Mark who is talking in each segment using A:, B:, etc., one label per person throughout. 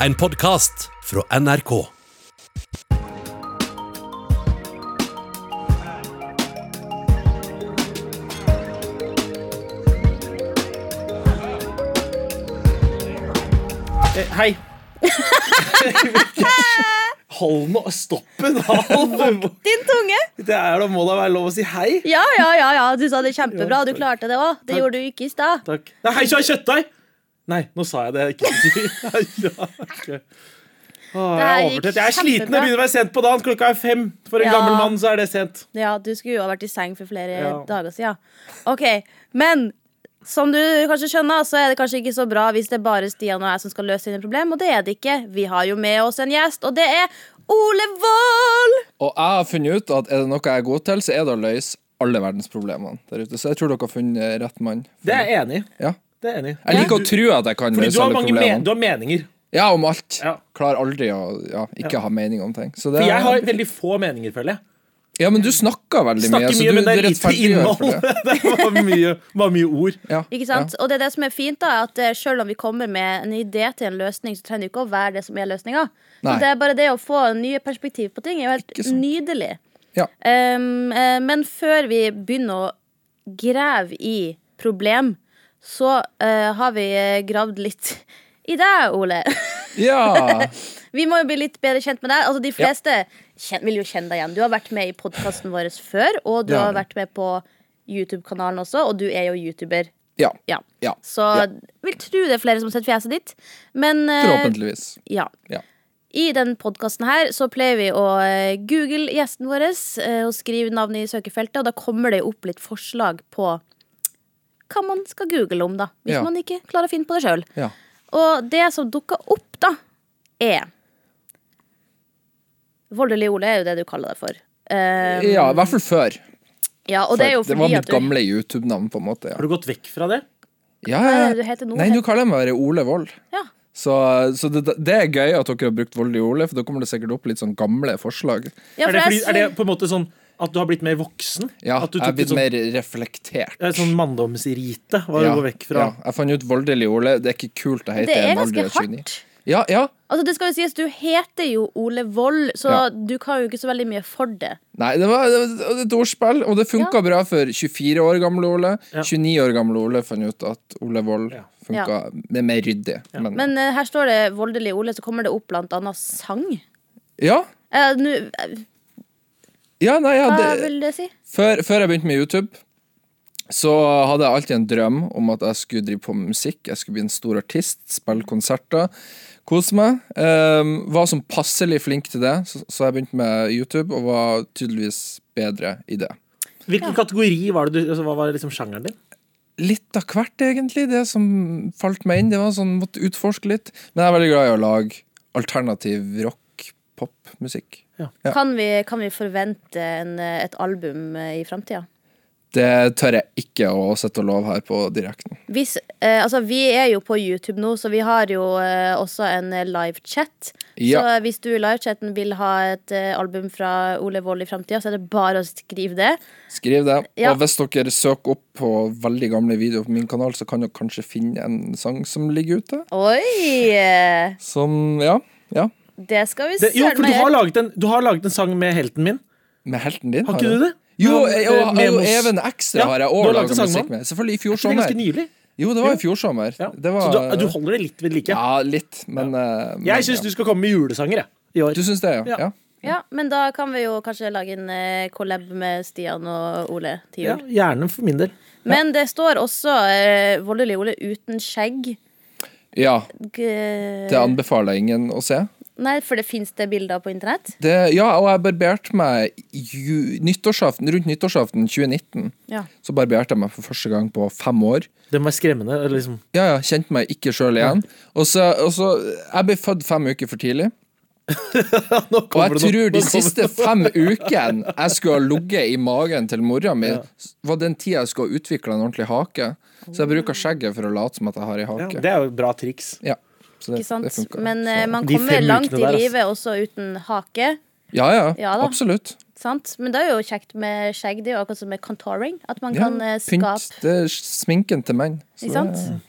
A: En podkast fra NRK.
B: Eh, Hei. Hold nå stoppen! Hold.
C: Din tunge!
B: Det er da må da være lov å si hei.
C: Ja, ja, ja, ja. du sa det kjempebra. Du klarte det òg. Det
B: Takk.
C: gjorde du ikke i stad.
B: Takk. Nei, hei, så har jeg kjøttdeig! Nei, nå sa jeg det jeg ikke skulle si. Ja, ok. Åh, jeg er
C: Det her gikk
B: overtett. Jeg er sliten. Det
C: kjempebra.
B: begynner å være sent på dagen. Klokka er fem. For en
C: Ja.
B: gammel mann så er det sent.
C: Ja, du skulle jo ha vært i seng for flere
B: Ja.
C: dager siden. OK. Men som du kanskje skjønner, så er det kanskje ikke så bra hvis det er bare Stian og jeg som skal løse dine problem, og det er det ikke. Vi har jo med oss en gjest, og det er Ole Wold!
D: Og jeg har funnet ut at er det noe jeg er god til, så er det å løse alle verdensproblemene der ute. Så jeg tror dere har funnet rett mann.
B: Det er jeg enig i.
D: Ja.
B: Det er jeg enig. i.
D: Jeg liker å tro at jeg kan
B: Fordi du
D: løse
B: har,
D: alle
B: mange men du
D: problemene.
B: har meninger.
D: Ja, om alt.
B: Ja.
D: Klarer aldri å ja, ikke ha mening om ting. Så det,
B: For jeg har veldig få meninger, føler jeg.
D: ja, men du snakker veldig mye,
B: Snakker
D: så
B: mye,
D: du
B: men det er lite
D: rettferdiggjør
B: innhold.
D: for det.
B: Det var mye, var mye ord.
D: Ja.
C: Ikke sant? Og det er det som er fint, da, at eh, selv om vi kommer med en idé til en løsning, så trenger det ikke å være det som er løsninga.
D: Nei.
C: Det er bare det å få nye perspektiv på ting er jo helt
D: Ikke sant.
C: nydelig.
D: Ja.
C: Um, eh, men før vi begynner å grave i problem, så eh, har vi eh, gravd litt i deg, Ole.
D: Ja. ja.
C: Vi må jo bli litt bedre kjent med deg. Altså, de
D: Ja.
C: fleste kjen- vil jo kjenne deg igjen. Du har vært med i podkasten vår før, og du
D: Ja.
C: har vært med på YouTube-kanalen også, og du er jo YouTuber.
D: ja.
C: Ja.
D: Ja.
C: Så vil tro det er flere som har sett fjeset ditt. Men eh,
D: Forhåpentligvis.
C: ja.
D: Ja.
C: I den podkasten her så pleier vi å eh, google gjesten vår eh, og skrive navnet i søkefeltet, og da kommer det opp litt forslag på hva man skal google om, da. Hvis
D: Ja.
C: man ikke klarer å finne på det sjøl.
D: Ja.
C: Og det som dukker opp, da, er Voldelig Ole er jo det du kaller deg for. Eh,
D: ja, i hvert fall før.
C: ja, og det er jo
D: det var
C: fordi
D: mitt
C: at du,
D: gamle YouTube-navn, på en måte. Ja.
B: Har du gått vekk fra det?
D: Ja,
C: Hva
D: ja.
C: er det du heter nå?
D: Nei, nå kaller jeg meg bare Ole Wold.
C: ja,
D: Så, så det, det er gøy at dere har brukt Vold i Ole, for da kommer det sikkert opp litt sånn gamle forslag.
B: er,
C: ja, for
B: det fordi,
C: jeg,
B: er det
C: så-
B: på en måte sånn at du har blitt mer voksen?
D: Ja,
B: at du
D: jeg
B: tok
D: er
B: et
D: blitt
B: sånn,
D: mer reflektert.
B: ja, et sånn manndomsrite? Var
D: Ja,
B: du går vekk fra
D: ja, jeg fant ut Voldelig Ole. Det er ikke kult å hete
C: det
D: i
C: er
D: en alder
C: ganske
D: av 29.
C: hardt.
D: Ja, ja.
C: Altså det skal jo sies, Du heter jo Ole Wold, så
D: Ja.
C: du kan jo ikke så veldig mye for det.
D: Nei, det var, det var et ordspill, og det funka
C: Ja.
D: bra for 24 år gamle Ole.
B: Ja.
D: 29 år gamle Ole fant ut at Ole Vold
B: Ja.
D: funka det er mer ryddig. Men,
C: Men eh, her står det 'Voldelig Ole', så kommer det opp blant annet sang.
D: ja,
C: Eh, nu- eh,
D: ja, nei, ja,
C: hva
D: det,
C: vil det si?
D: Før, før jeg begynte med YouTube, så hadde jeg alltid en drøm om at jeg skulle drive på med musikk. Jeg skulle bli en stor artist, spille konserter, kose meg. Ehm, var som passelig flink til det, så, så jeg begynte med YouTube og var tydeligvis bedre i det.
B: Hvilken kategori var det du altså, Hva var liksom sjangeren din?
D: Litt av hvert, egentlig. Det som falt meg inn. Det var sånn, Måtte utforske litt. Men jeg er veldig glad i å lage alternativ rock, popmusikk. Ja.
C: Kan, vi, kan vi forvente en, eh, et album eh, i framtida?
D: Det tør jeg ikke å sette og love her på direkten.
C: Hvis, eh, altså, vi er jo på YouTube nå, så vi har jo eh, også en eh, livechat. Så
D: Ja.
C: eh, hvis du i livechatten vil ha et eh, album fra Ole Wold i framtida, så er det bare å skrive det.
D: Skriv det.
C: Ja.
D: Og hvis dere søker opp på veldig gamle videoer på min kanal, så kan dere kanskje finne en sang som ligger ute.
C: Oi! eh,
D: Som Ja. ja.
C: Det skal vi
B: Det, jo,
C: søren
B: for du
C: meg
B: har,
C: gjøre.
B: laget en, du har laget en sang med helten min.
D: Med helten din.
B: Har ikke du det?
D: Jo,
B: Ja,
D: jeg, og,
B: med
D: og
B: Mos.
D: Even Ekstra
B: Ja,
D: har jeg
B: du
D: òg
B: har laget
D: laga
B: en sang med
D: musikk
B: han.
D: med. Selvfølgelig i
B: Er
D: fjor
B: ikke det
D: sommer.
B: ganske nylig?
D: Jo, det var i fjor sommer.
B: Ja.
D: Det var,
B: Så du, du holder det litt ved like?
D: Ja, litt, men eh, men,
B: Jeg syns du skal komme med julesanger, jeg. I
D: ja.
B: år.
D: Du syns det, ja?
B: Ja.
D: ja.
C: Ja, men da kan vi jo kanskje lage en eh, collab med Stian og Ole til
B: Ja,
C: jul.
B: gjerne for min del.
C: Men det står også eh, voldelig Ole uten skjegg.
D: Ja,
C: G-
D: det anbefaler jeg ingen å se.
C: Nei, for det fins det bilder på internett?
D: Det, ja, og jeg barberte meg ju, nyttårsaften, rundt nyttårsaften 2019.
C: Ja.
D: Så barberte jeg meg for første gang på fem år.
B: Den var skremmende. eller Liksom.
D: Ja, ja, kjente meg ikke sjøl igjen. Og så, og så Jeg ble født fem uker for tidlig. Og jeg tror de siste fem ukene jeg skulle ha ligget i magen til mora mi, var den tida jeg skulle ha utvikla en ordentlig hake. Så jeg bruker skjegget for å late som at jeg har ei
B: ja,
D: hake.
B: Det er jo et bra triks.
D: Ja, så det,
C: Ikke sant?
D: det funker.
C: Men
D: Så-
C: eh, man
B: De
C: kommer
B: fem
C: langt
B: ukene
C: i
B: der, altså.
C: livet også uten hake.
D: Ja, ja,
C: Ja da.
D: absolutt.
C: Sant? Men det er jo kjekt med skjegg. Det er jo akkurat som med contouring. At man
D: Ja,
C: kan eh,
D: pynt,
C: skape
D: det er sminken til menn. Så
C: Ikke sant?
D: det-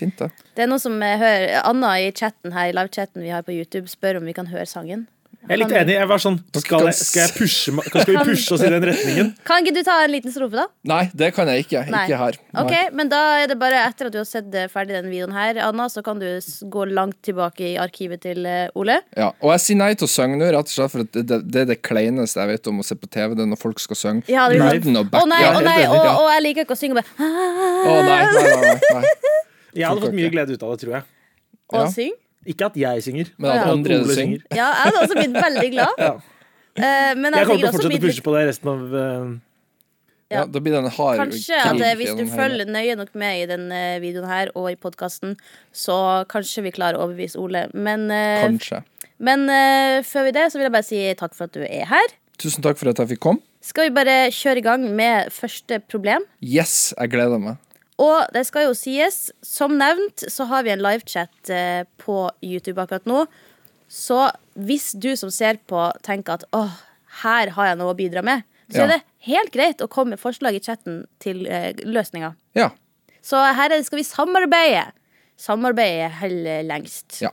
D: Fint, det.
C: Det er noen som eh, hører Anna i chatten her, i livechatten vi har på YouTube, spør om vi kan høre sangen.
B: Jeg er litt enig. Jeg var sånn, skal, jeg, skal, jeg pushe, meg- skal vi pushe oss i den retningen?
C: Kan ikke du ta en liten strofe, da?
D: Nei, det kan jeg ikke. Ikke her. Nei.
C: Ok, men da er det bare etter at du har sett eh, ferdig den videoen her, Anna, så kan du s- gå langt tilbake i arkivet til eh, Ole.
D: Ja, og jeg sier nei til å synge nå, rett og slett, for at det, det er det kleineste jeg vet om å se på TV, det er når folk skal synge.
C: Ja, det blir
D: Lyden og
C: Å
D: back-
C: nei,
D: Ja,
C: å nei,
D: helt
C: og,
D: enig. Ja.
C: og jeg liker ikke å synge og bare
D: Å nei, nei, nei, nei, nei.
B: Jeg hadde fått mye glede ut av det, tror jeg.
C: Å
D: Ja.
C: synge.
B: Ikke at jeg synger.
D: Men at
B: Ole
D: andre synger.
C: Ja, jeg hadde også blitt veldig glad.
B: Ja.
C: Eh, men
B: Jeg kommer til
C: jeg, tenker
B: å
C: også
B: fortsette å
C: blitt litt
B: pushe på det resten av eh,
C: Ja.
D: Ja, da blir det en hard
C: Kanskje
D: krig
C: at eh, hvis du
D: gjennom hele-
C: følger nøye nok med i den eh, videoen her og i podkasten, så kanskje vi klarer å overbevise Ole. Men, eh,
D: Kanskje.
C: men eh, før vi det, så vil jeg bare si takk for at du er her.
D: Tusen takk for at jeg fikk komme.
C: Skal vi bare kjøre i gang med første problem?
D: Yes, jeg gleder meg.
C: Og det skal jo sies, som nevnt, så har vi en livechat eh, på YouTube akkurat nå. Så hvis du som ser på tenker at åh, her har jeg noe å bidra med, så
D: Ja.
C: er det helt greit å komme med forslag i chatten til eh, løsninger.
D: Ja.
C: Så her er det, skal vi samarbeide. Samarbeide holder lengst.
D: Ja.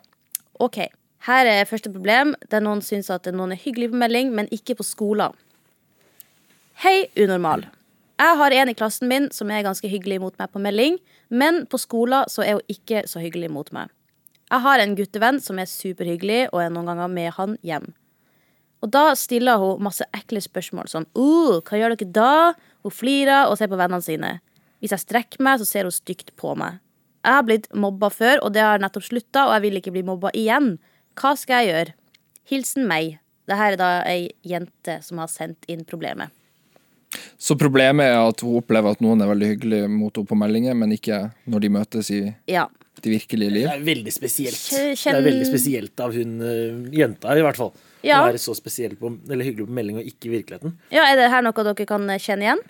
C: Ok, her er første problem, der noen syns at noen er hyggelig på melding, men ikke på skolen. Hei, unormal. Jeg har en i klassen min som er ganske hyggelig mot meg på melding, men på skolen så er hun ikke så hyggelig mot meg. Jeg har en guttevenn som er superhyggelig, og er noen ganger med han hjem. Og da stiller hun masse ekle spørsmål sånn uh, Hva gjør dere da? Hun flirer og ser på vennene sine. Hvis jeg strekker meg, så ser hun stygt på meg. Jeg har blitt mobba før, og det har nettopp slutta, og jeg vil ikke bli mobba igjen. Hva skal jeg gjøre? Hilsen meg. Dette er da ei jente som har sendt inn problemet.
D: Så problemet er at hun opplever at noen er veldig hyggelig mot henne på meldinger, men ikke når de møtes i
C: Ja.
D: det virkelige liv.
B: Det er veldig spesielt.
C: Kj-
B: Det
C: kjenn-
B: er veldig spesielt av hun eh, jenta, i hvert fall.
C: Ja.
B: Å være så spesiell på, eller hyggelig på melding og ikke i virkeligheten.
C: ja, Er det her noe dere kan kjenne igjen?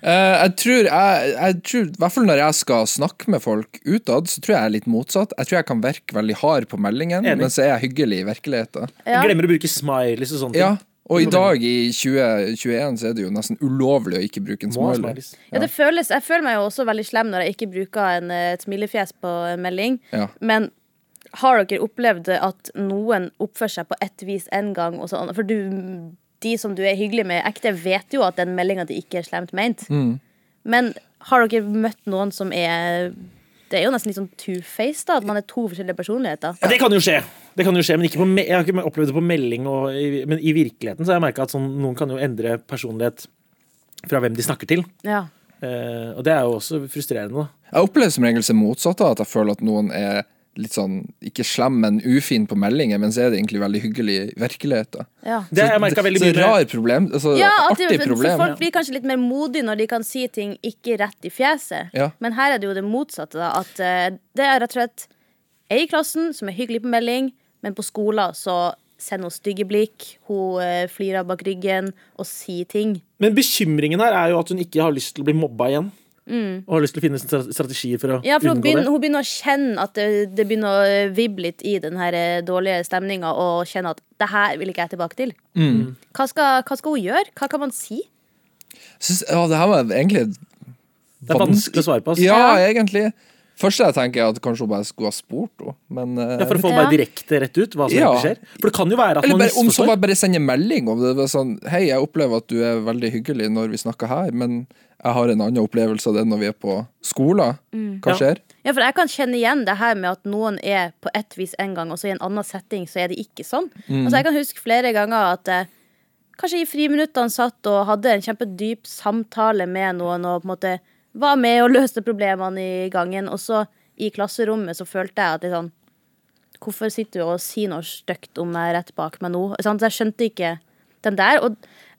D: Eh, jeg tror, jeg, jeg tror I hvert fall når jeg skal snakke med folk utad, så tror jeg jeg er litt motsatt. Jeg tror jeg kan virke veldig hard på meldingen,
B: Enig.
D: men så er jeg hyggelig i virkeligheten.
C: Ja.
B: Jeg glemmer å bruke smileys og sånne
D: Ja,
B: ting.
D: og i dag, i 2021, så er det jo nesten ulovlig å ikke bruke en
B: Må ha
D: smiley.
B: smileys.
C: Ja, det føles, Jeg føler meg jo også veldig slem når jeg ikke bruker en, eh, et smilefjes på en melding.
D: Ja.
C: Men har dere opplevd at noen oppfører seg på ett vis en gang? Og sånn? For du, de som du er hyggelig med ekte, vet jo at den meldinga di ikke er slemt meint. Men har dere møtt noen som er Det er jo nesten litt sånn two-face, da. At man er to forskjellige personligheter.
B: Ja, det kan jo skje. Det kan jo skje, men ikke på, me- Jeg har ikke opplevd det på melding, og i, men i virkeligheten så har jeg merka at sånn, noen kan jo endre personlighet fra hvem de snakker til.
C: Ja.
B: Eh, og det er jo også frustrerende. da.
D: Jeg opplever som regel det motsatte, at jeg føler at noen er litt sånn, ikke slem, men ufin på meldinger, men så er det egentlig veldig hyggelig i virkeligheten.
C: Ja.
B: Det har jeg merket veldig
D: så
B: mye med-
D: rar problem, altså
C: Ja, at
D: artig
C: det, sånn, så
D: problem.
C: folk blir kanskje litt mer modige når de kan si ting ikke rett i fjeset.
D: Ja.
C: Men her er det jo det motsatte. Da, at eh, Det er rett og slett ei i klassen som er hyggelig på melding, men på skolen så sender hun stygge blikk, hun eh, flirer bak ryggen og sier ting.
B: Men bekymringen her er jo at hun ikke har lyst til å bli mobba igjen. Og har lyst til å finne stra- strategier for å
C: Mm. Ja, for hun
B: unngå
C: begynner,
B: det.
C: hun begynner å kjenne at det, det begynner å vibbe litt i den her eh, dårlige stemninga, og kjenne at det her vil ikke jeg tilbake til.
D: Mm.
C: Hva, skal, hva skal hun gjøre? Hva kan man si?
D: Jeg Synes, ja, det her var egentlig
B: Det er vanskelig å svare på. altså. ass.
D: Ja,
C: Ja.
D: egentlig. Første jeg tenker, er at kanskje hun bare skulle ha spurt henne, men eh,
B: Ja, for å få det
C: Ja.
B: bare direkte rett ut hva som
D: Ja.
B: egentlig skjer. For det kan jo være at
D: Eller
B: man
D: bare, om så
B: misforstår.
D: bare, bare sende melding om det. det er sånn, Hei, jeg opplever at du er veldig hyggelig når vi snakker her, men jeg har en annen opplevelse av det når vi er på skolen. Hva
B: Ja.
D: skjer?
C: Ja, for jeg kan kjenne igjen det her med at noen er på ett vis en gang, og så i en annen setting så er det ikke sånn. Altså, jeg kan huske flere ganger at eh, kanskje i friminuttene satt og hadde en kjempedyp samtale med noen og på en måte var med og løste problemene i gangen, og så i klasserommet så følte jeg at det er sånn Hvorfor sitter du og sier noe stygt om meg rett bak meg nå? Sant? Så jeg skjønte ikke den der. Og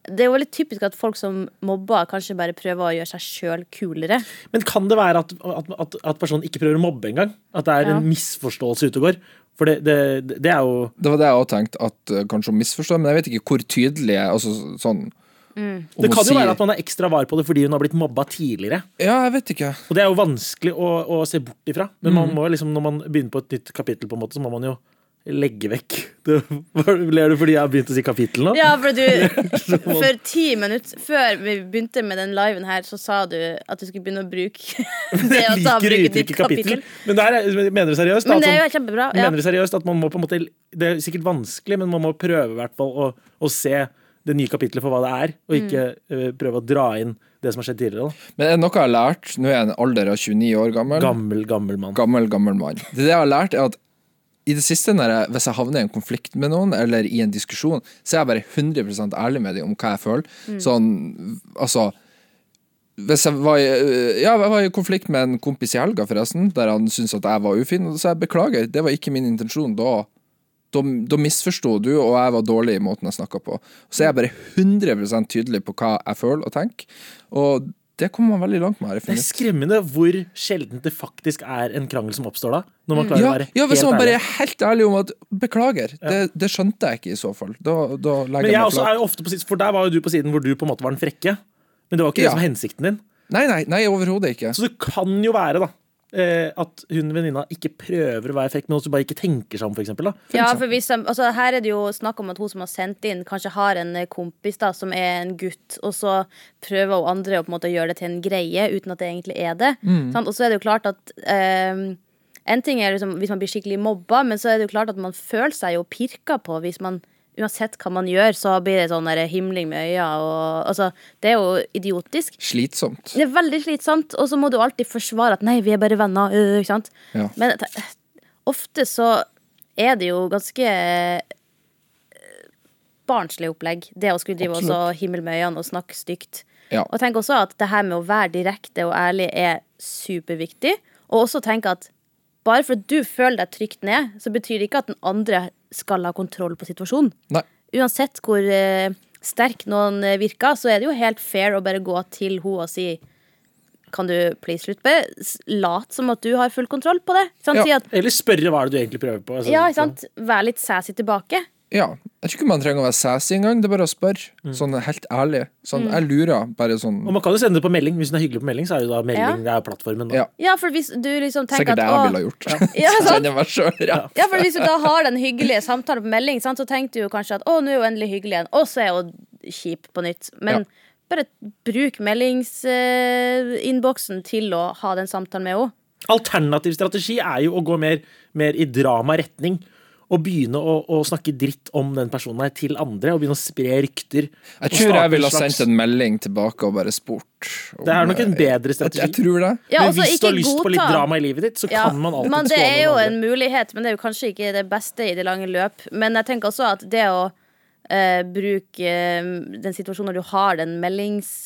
C: det er jo veldig typisk at folk som mobber, kanskje bare prøver å gjøre seg sjøl kulere.
B: Men kan det være at, at, at, at personen ikke prøver å mobbe engang? At det er
C: Ja.
B: en misforståelse ute og går? For det, det, det er jo
D: Det var det jeg òg tenkte, at eh, kanskje hun misforstår, men jeg vet ikke hvor tydelig jeg altså, sånn, om
B: Det
D: hun
B: kan jo
D: sier-
B: være at man er ekstra var på det fordi hun har blitt mobba tidligere.
D: Ja, jeg vet ikke.
B: Og Mm. det er jo vanskelig å, å se bort ifra. Men man må jo liksom, når man begynner på et nytt kapittel, på en måte, så må man jo legge vekk. Det, ler du fordi jeg har begynt å si kapittel nå?
C: Ja, for du For ti minutter før vi begynte med den liven her, så sa du at du skulle begynne å bruke det å
B: Jeg
C: ta
B: liker
C: bruke ditt
B: uttrykket kapittel.
C: kapittel.
B: Men det her er- mener du seriøst? da,
C: Men det
B: at
C: er jo
B: sånn-
C: helt kjempebra. Ja.
B: Mener du seriøst at man må på en måte Det er sikkert vanskelig, men man må prøve i hvert fall å, å se det nye kapitlet for hva det er, og ikke
C: Mm.
B: eh, prøve å dra inn det som har skjedd tidligere. Da.
D: Men er det noe jeg har lært Nå er jeg en alder av 29 år gammel.
B: Gammel, gammel mann.
D: Gammel, gammel mann. Det jeg har lært, er at i det siste, når jeg, hvis jeg havner i en konflikt med noen, eller i en diskusjon, så er jeg bare 100 ærlig med dem om hva jeg føler. Sånn, altså hvis jeg var, i, øh, ja, jeg var i konflikt med en kompis i helga, forresten, der han syntes at jeg var ufin. Så jeg beklager, det var ikke min intensjon da. Da, da misforsto du, og jeg var dårlig i måten jeg snakka på. Så er jeg bare 100 tydelig på hva jeg føler og tenker, og det kommer man veldig langt med. her i
B: Det er
D: feminist.
B: skremmende hvor sjelden det faktisk er en krangel som oppstår da. Når
C: Mm.
B: man klarer
D: ja,
B: å være
D: ja, hvis
B: helt
D: man bare
B: ærlig.
D: er helt ærlig om at Beklager, det, det skjønte jeg ikke i så fall. Da, da
B: Men
D: legger
B: jeg
D: jeg meg
B: også er
D: flat.
B: jo ofte på siden, for der var jo du på siden hvor du på en måte var den frekke. Men det var ikke det
D: Ja.
B: som var hensikten din.
D: Nei, nei, nei overhodet ikke.
B: Så det kan jo være, da. eh, At hun venninna ikke prøver å være frekk, men også bare ikke tenker seg om, for eksempel. Da.
C: Ja, for hvis, de- altså, her er det jo snakk om at hun som har sendt inn, kanskje har en eh, kompis da, som er en gutt, og så prøver hun andre å på en måte gjøre det til en greie uten at det egentlig er det. Sant? Og så er det jo klart at eh, En ting er liksom, hvis man blir skikkelig mobba, men så er det jo klart at man føler seg jo pirka på hvis man Uansett hva man gjør, så blir det sånn der himling med øya og Altså, det er jo idiotisk.
D: Slitsomt.
C: Det er veldig slitsomt, og så må du alltid forsvare at 'nei, vi er bare venner'. øh, ikke sant?
D: Ja.
C: Men at- eh, ofte så er det jo ganske eh, barnslig opplegg, det å skulle drive og så himmel med øynene og snakke stygt.
D: Ja.
C: Og tenk også at det her med å være direkte og ærlig er superviktig. Og også tenk at bare for at du føler deg trygt ned, så betyr det ikke at den andre skal ha kontroll på situasjonen
D: Nei.
C: uansett hvor eh, sterk noen eh, virker, så er det jo helt fair å bare gå til hun og si kan du please slutte med det? S- Lat som at du har full kontroll på det. Ikke Sant?
D: Ja.
C: Si at,
B: Eller spørre hva er det du egentlig prøver på. altså,
C: ja, ikke sant? Vær litt sassy tilbake.
D: Ja. Jeg tror ikke man trenger å være sassy engang, det er bare å spørre.
B: Mm.
D: Sånn helt ærlig. Sånn,
C: Mm.
D: jeg lurer, bare sånn
B: Og man kan jo sende det på melding. Hvis hun er hyggelig på melding, så er jo da melding det er plattformen. Da.
D: Ja.
C: Ja, for hvis du liksom tenker
D: Sikkert det
C: at
D: jeg
C: «Å,
D: ville ha gjort.
C: Ja, sant?
D: Kjenner meg selv, ja.
C: ja, for hvis du da har den hyggelige samtalen på melding, sant, så tenker du jo kanskje at å, nå er hun endelig hyggelig igjen, og så er hun kjip på nytt. Men bare bruk meldingsinnboksen til å ha den samtalen med henne.
B: Alternativ strategi er jo å gå mer, mer i dramaretning. Og begynne å, å snakke dritt om den personen her til andre, og begynne å spre rykter. og
D: Jeg tror
B: starte
D: jeg
B: en
D: ville ha
B: slags-
D: sendt en melding tilbake og bare spurt. om- eh,
B: Det er nok en bedre
D: Jeg, jeg
B: strategi.
D: tror det.
C: Ja,
B: Men
C: også
B: hvis du har
C: ikke
B: lyst på litt
C: godta-
B: drama i livet ditt, så kan man alltid
C: men Det
B: skåle
C: er jo
B: noen andre.
C: en mulighet, men det er jo kanskje ikke det beste i det lange løp. Men jeg tenker også at det å eh, bruke eh, den situasjonen når du har den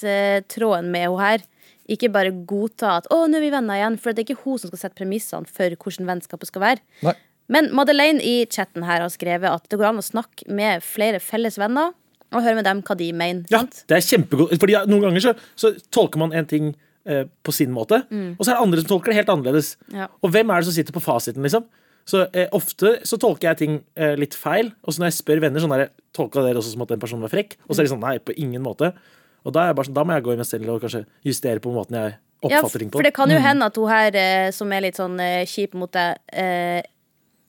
C: meldingstråden med henne her, ikke bare godta at 'å, nå er vi venner igjen', for det er ikke hun som skal sette premissene for hvordan vennskapet skal være.
D: Nei.
C: Men Madeleine i chatten her har skrevet at det går an å snakke med flere felles venner og høre med dem hva de mener.
B: Ja,
C: sant?
B: det er kjempegodt. Fordi ja, Noen ganger så, så tolker man en ting eh, på sin måte, og så er det andre som tolker det helt annerledes.
C: Mm. Ja.
B: Og hvem er det som sitter på fasiten, liksom? Så eh, Ofte så tolker jeg ting eh, litt feil, og så når jeg spør venner sånn der, Tolka dere også som at den personen var frekk? Og så er
C: Mm.
B: de sånn nei, på ingen måte. Og Da, er jeg bare sånn, da må jeg gå i meg selv og kanskje justere på måten jeg
C: Ja,
B: oppfatter ting på. Mm.
C: for det kan jo hende at hun her eh, som er litt sånn eh, kjip mot deg, eh,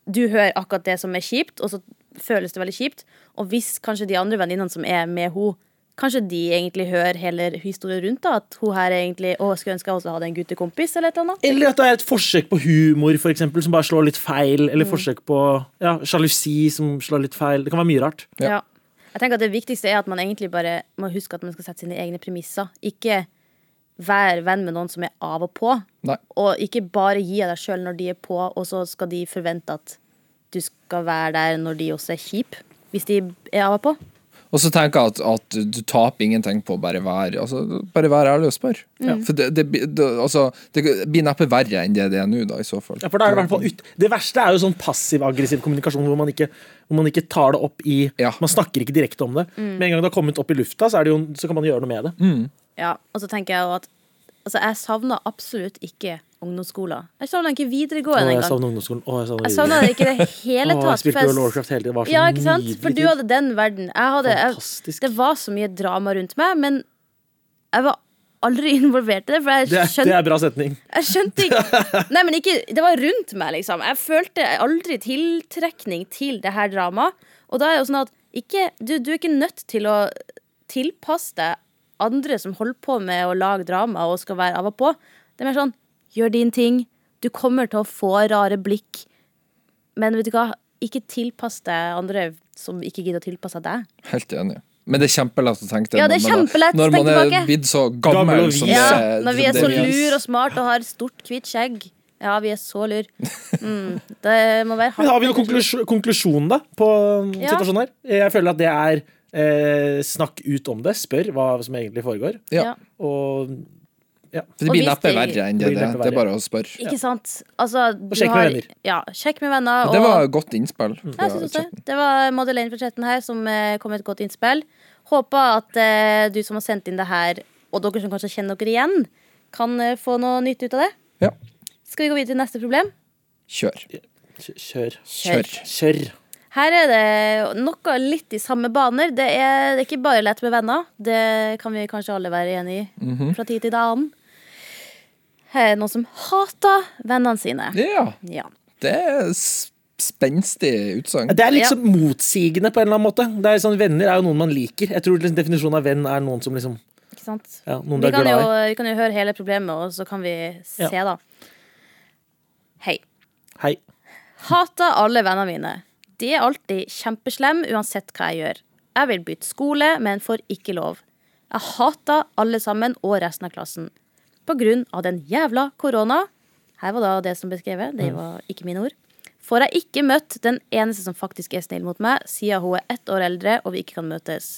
C: du hører akkurat det som er kjipt, og så føles det veldig kjipt. Og hvis kanskje de andre venninnene som er med henne, kanskje de egentlig hører hele historien rundt, da, at hun her egentlig å, skulle ønske jeg også hadde en guttekompis, eller et eller annet.
B: Eller at det er et forsøk på humor for eksempel, som bare slår litt feil.
C: Mm.
B: Eller forsøk på ja, sjalusi som slår litt feil. Det kan være mye rart.
D: Ja.
C: Ja. Jeg tenker at Det viktigste er at man egentlig bare må huske at man skal sette sine egne premisser. Ikke være venn med noen som er av og på,
D: Nei.
C: Og ikke bare gi av deg sjøl når de er på, og så skal de forvente at du skal være der når de også er kjip. Hvis de er av og på.
D: Og så tenker jeg at, at du taper ingenting på å bare være altså, Bare være ærlig og spørre. For det, det, blir- det, altså, det blir neppe verre enn det det er nå, da, i så fall.
B: Ja, for da er det, i hvert fall ut, det verste er jo sånn passiv-aggressiv kommunikasjon hvor man, ikke, hvor man ikke tar det opp i
D: Ja.
B: Man snakker ikke direkte om det.
C: Mm.
B: Med en gang det har kommet opp i lufta, så, er det jo, så kan man gjøre noe med det.
C: Ja, og så tenker jeg jo at altså, jeg savner absolutt ikke ungdomsskolen. Jeg savner ikke
B: Å,
C: videregående
B: jeg
C: engang.
B: savner ungdomsskolen. Å, jeg savner
C: Jeg savner det ikke i det hele
B: Å, jeg
C: tatt.
B: spilte
C: for jeg-
B: World of Warcraft hele tiden. Det var så
C: ja, ikke sant?
B: nydelig
C: For du
B: tid.
C: hadde den verden. Jeg hadde, jeg,
B: Fantastisk.
C: det var så mye drama rundt meg, men jeg var aldri involvert i det, for
B: Det
C: jeg
B: er, det
C: skjønte,
B: er bra setning.
C: jeg skjønte ikke Nei, men ikke Det var rundt meg, liksom. Jeg følte aldri tiltrekning til det her dramaet. Og da er det jo sånn at ikke, du, du er ikke nødt til å tilpasse deg andre som holder på med å lage drama og skal være av og på. Det er mer sånn gjør din ting. Du kommer til å få rare blikk. Men vet du hva, ikke tilpass deg andre som ikke gidder å tilpasse seg deg.
D: Helt enig. Men det er kjempelett å tenke det.
C: Ja, det er
D: når man-
C: kjempelett å
D: Når man
C: tenke
D: er
C: tilbake.
D: blitt så
B: Gammel
D: gammel
B: og
D: som
B: vis.
C: Ja,
D: det-
C: når vi er
D: det
C: så
D: vi er.
C: lur og smart og har stort, hvitt skjegg. Ja, vi er så lur. Mm, det må være
B: Men
C: hardt.
B: har vi noen konklusjon, konklusjon da, på um,
C: Ja.
B: situasjonen her? Jeg føler at det er eh, snakk ut om det. Spør hva som egentlig foregår.
D: Ja.
C: Ja.
B: Og,
D: For det
C: Og
D: blir
C: hvis
D: neppe
C: det-
D: verre enn det.
B: Det blir
D: Det,
B: neppe
D: det er
B: verre.
D: bare å spørre.
C: Ikke sant? Altså, du
B: sjekk med
C: har-
B: venner.
C: Ja, sjekk med venner.
D: Det
C: og-
D: var et godt innspill.
C: Ja,
D: fra
C: jeg synes også
D: chatten.
C: det. Det var Madeleine fra chatten her som eh, kom med et godt innspill. Håper at eh, du som har sendt inn det her, og dere som kanskje kjenner dere igjen, kan eh, få noe nytt ut av det.
D: Ja.
C: Skal vi gå videre til neste problem?
D: Kjør.
B: kj- kjør.
D: Kjør.
B: Kjør.
C: Her er det noe litt i samme baner. Det er, det er ikke bare lett med venner. Det kan vi kanskje alle være enig i
D: Mhm.
C: fra tid til annen. Her er det noen som hater vennene sine.
D: Ja.
C: Ja.
D: Det er s- spenstig utsagn.
B: Det er liksom motsigende på en eller annen måte. Det er sånn, venner er jo noen man liker. Jeg tror liksom, Definisjonen av venn er noen som liksom
C: Ikke sant?
B: ja, Noen du
C: Vi
B: er
C: kan,
B: glad
C: jo,
B: i.
C: vi kan jo høre hele problemet, og så kan vi se, da. Hei.
B: Hei.
C: Hater alle vennene mine. De er alltid kjempeslem uansett hva jeg gjør. Jeg vil bytte skole, men får ikke lov. Jeg hater alle sammen og resten av klassen. På grunn av den jævla korona Her var da det som ble skrevet, det var ikke mine ord. Får jeg ikke møtt den eneste som faktisk er snill mot meg, siden hun er ett år eldre og vi ikke kan møtes.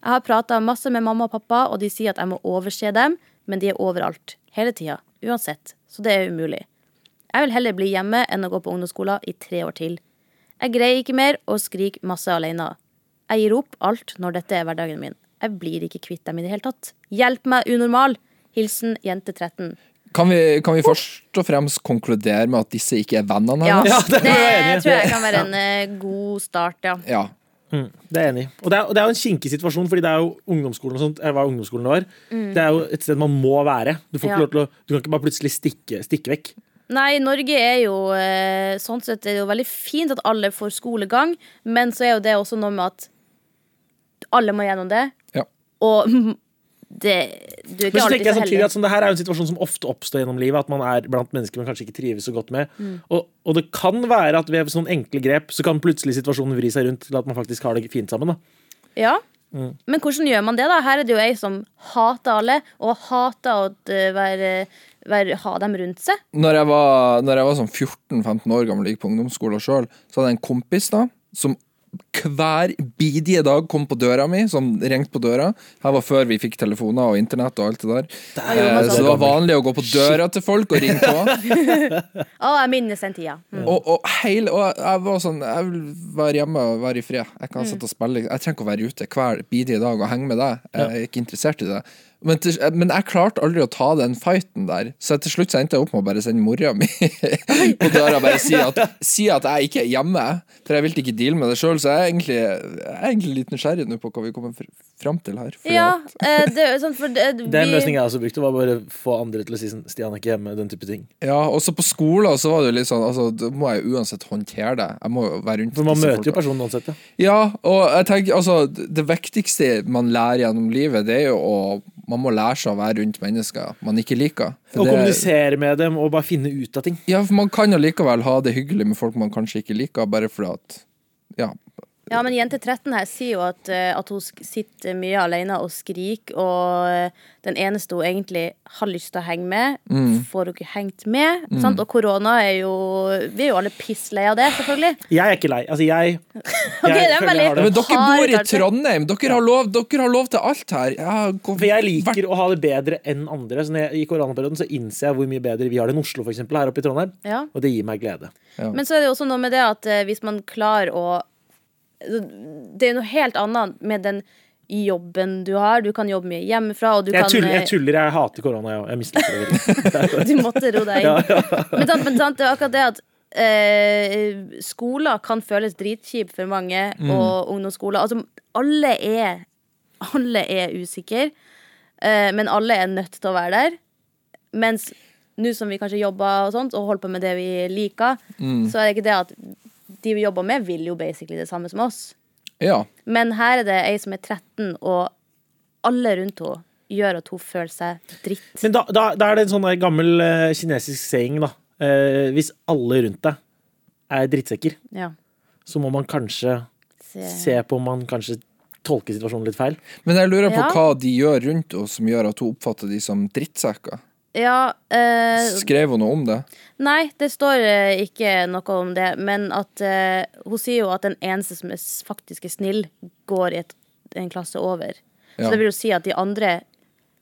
C: Jeg har prata masse med mamma og pappa, og de sier at jeg må overse dem, men de er overalt. Hele tida. Uansett. Så det er umulig. Jeg vil heller bli hjemme enn å gå på ungdomsskolen i tre år til. Jeg greier ikke mer og skriker masse alene. Jeg gir opp alt når dette er hverdagen min. Jeg blir ikke kvitt dem i det hele tatt. Hjelp meg, unormal! Hilsen jente 13.
D: Kan vi, kan vi først og fremst konkludere med at disse ikke er vennene
C: Ja,
D: hennes?
B: det er
C: det
B: jeg enig i.
C: tror jeg kan være en eh, god start, ja.
D: Ja.
B: Det er jeg enig. i. Og det er, og det er jo en kinkig situasjon, fordi det er jo ungdomsskolen og sånt. eh, Hva ungdomsskolen var. Det er jo et sted man må være. Du, får
C: Mm. Ja.
B: ikke lov til å, du kan ikke bare plutselig stikke, stikke vekk.
C: Nei, Norge er jo eh, Sånn sett er det jo veldig fint at alle får skolegang, men så er jo det også noe med at alle må gjennom det,
D: Ja.
C: og det Du
B: Men
C: er ikke
B: så
C: alltid
B: tenker jeg
C: så
B: samtidig
C: heldig.
B: at sånn, det her er jo en situasjon som ofte oppstår gjennom livet. At man er blant mennesker man kanskje ikke trives så godt med.
C: Mm.
B: Og, og det kan være at ved sånne enkle grep så kan plutselig situasjonen vri seg rundt til at man faktisk har det fint sammen. Da.
C: Ja.
B: Mm.
C: Men hvordan gjør man det, da? Her er det jo jeg som hater alle, og hater å eh, være, være, ha dem rundt seg.
D: Når jeg var, når jeg var sånn 14-15 år gammel og gikk på ungdomsskolen sjøl, så hadde jeg en kompis da, som hver bidige dag kom på døra mi, som ringte på døra. Her var før vi fikk telefoner og internett og alt det der. Eh,
C: sånn.
D: så det var vanlig å gå på døra til folk og ringe på.
C: Å, jeg minnes den tida. Mm.
D: Og, og, hele, og jeg var sånn Jeg vil være hjemme og være i fred. Jeg
C: Mm.
D: kan sitte og spille. Jeg trenger ikke å være ute hver bidige dag og henge med deg. Jeg er ikke interessert i det. Men, til, men jeg klarte aldri å ta den fighten der, så til slutt så endte jeg opp med å bare sende mora mi på døra og bare si at, si at jeg ikke er hjemme. For jeg ville ikke deale med det sjøl, så jeg er egentlig, jeg er egentlig litt nysgjerrig nå på hva vi kommer fr- fram til her. fordi
C: Ja,
D: at-
C: eh, det er jo sånn, for det, vi,
B: Det er en løsning jeg også brukte, var bare få andre til å si sånn Stian er ikke hjemme, den type ting.
D: ja, også på skolen så var det jo litt sånn altså, Da må jeg jo uansett håndtere det. Jeg må jo være rundt
B: For man
D: disse
B: møter jo
D: folka.
B: personen uansett, ja.
D: Ja, og jeg tenker altså, Det viktigste man lærer gjennom livet, det er jo å Man må lære seg å være rundt mennesker man ikke liker. For
B: Og
D: det-
B: kommunisere med dem og bare finne ut av ting.
D: Ja, for Man kan jo likevel ha det hyggelig med folk man kanskje ikke liker, bare fordi at Ja.
C: Ja, men jente 13 her sier jo at, eh, at hun sk- sitter mye alene og skriker, og eh, den eneste hun egentlig har lyst til å henge med,
B: Mm.
C: får hun ikke hengt med. Sant? Og korona er jo Vi er jo alle pisslei av det, selvfølgelig.
B: Jeg er ikke lei. Altså, jeg, jeg føler
C: det er
B: jeg har
C: veldig-
D: ja men dere
C: Har
D: bor i
C: kanskje-
D: Trondheim! Dere har lov, dere har lov til alt her! Jeg har gått-
B: For jeg liker å ha det bedre enn andre. Så når jeg, I koronaperioden så innser jeg hvor mye bedre vi har det enn Oslo, for eksempel, her oppe i Trondheim.
C: Ja.
B: Og det gir meg glede.
D: Ja.
C: Men så er det jo også noe med det at eh, hvis man klarer å Det er noe helt annet med den jobben du har. Du kan jobbe mye hjemmefra, og du
B: Jeg
C: kan
B: tuller,
C: eh,
B: jeg, tuller, jeg hater korona, jeg òg. Jeg misliker det. veldig.
C: Du måtte ro deg inn. Men, sant, men sant, det er akkurat det at eh, skoler kan føles dritkjipe for mange, og ungdomsskoler Altså, alle er Alle er usikre. Eh, men alle er nødt til å være der. Mens nå som vi kanskje jobber og sånt, og holder på med det vi liker, så er det ikke det at de vi jobber med, vil jo basically det samme som oss.
D: Ja.
C: Men her er det ei som er 13, og alle rundt henne gjør at hun føler seg dritt.
B: Men da, da, da er det en sånn der gammel eh, kinesisk saying, da. Eh, hvis alle rundt deg er drittsekker,
C: Ja.
B: så må man kanskje se på om man kanskje tolker situasjonen litt feil.
D: Men jeg lurer på
C: Ja.
D: hva de gjør rundt henne som gjør at hun oppfatter de som drittsekker.
C: Ja, eh,
D: Skrev hun noe om det?
C: Nei, det står eh, ikke noe om det. Men at eh, hun sier jo at den eneste som er s- faktisk er snill, går i et, en klasse over.
D: Ja.
C: Så det vil jo si at de andre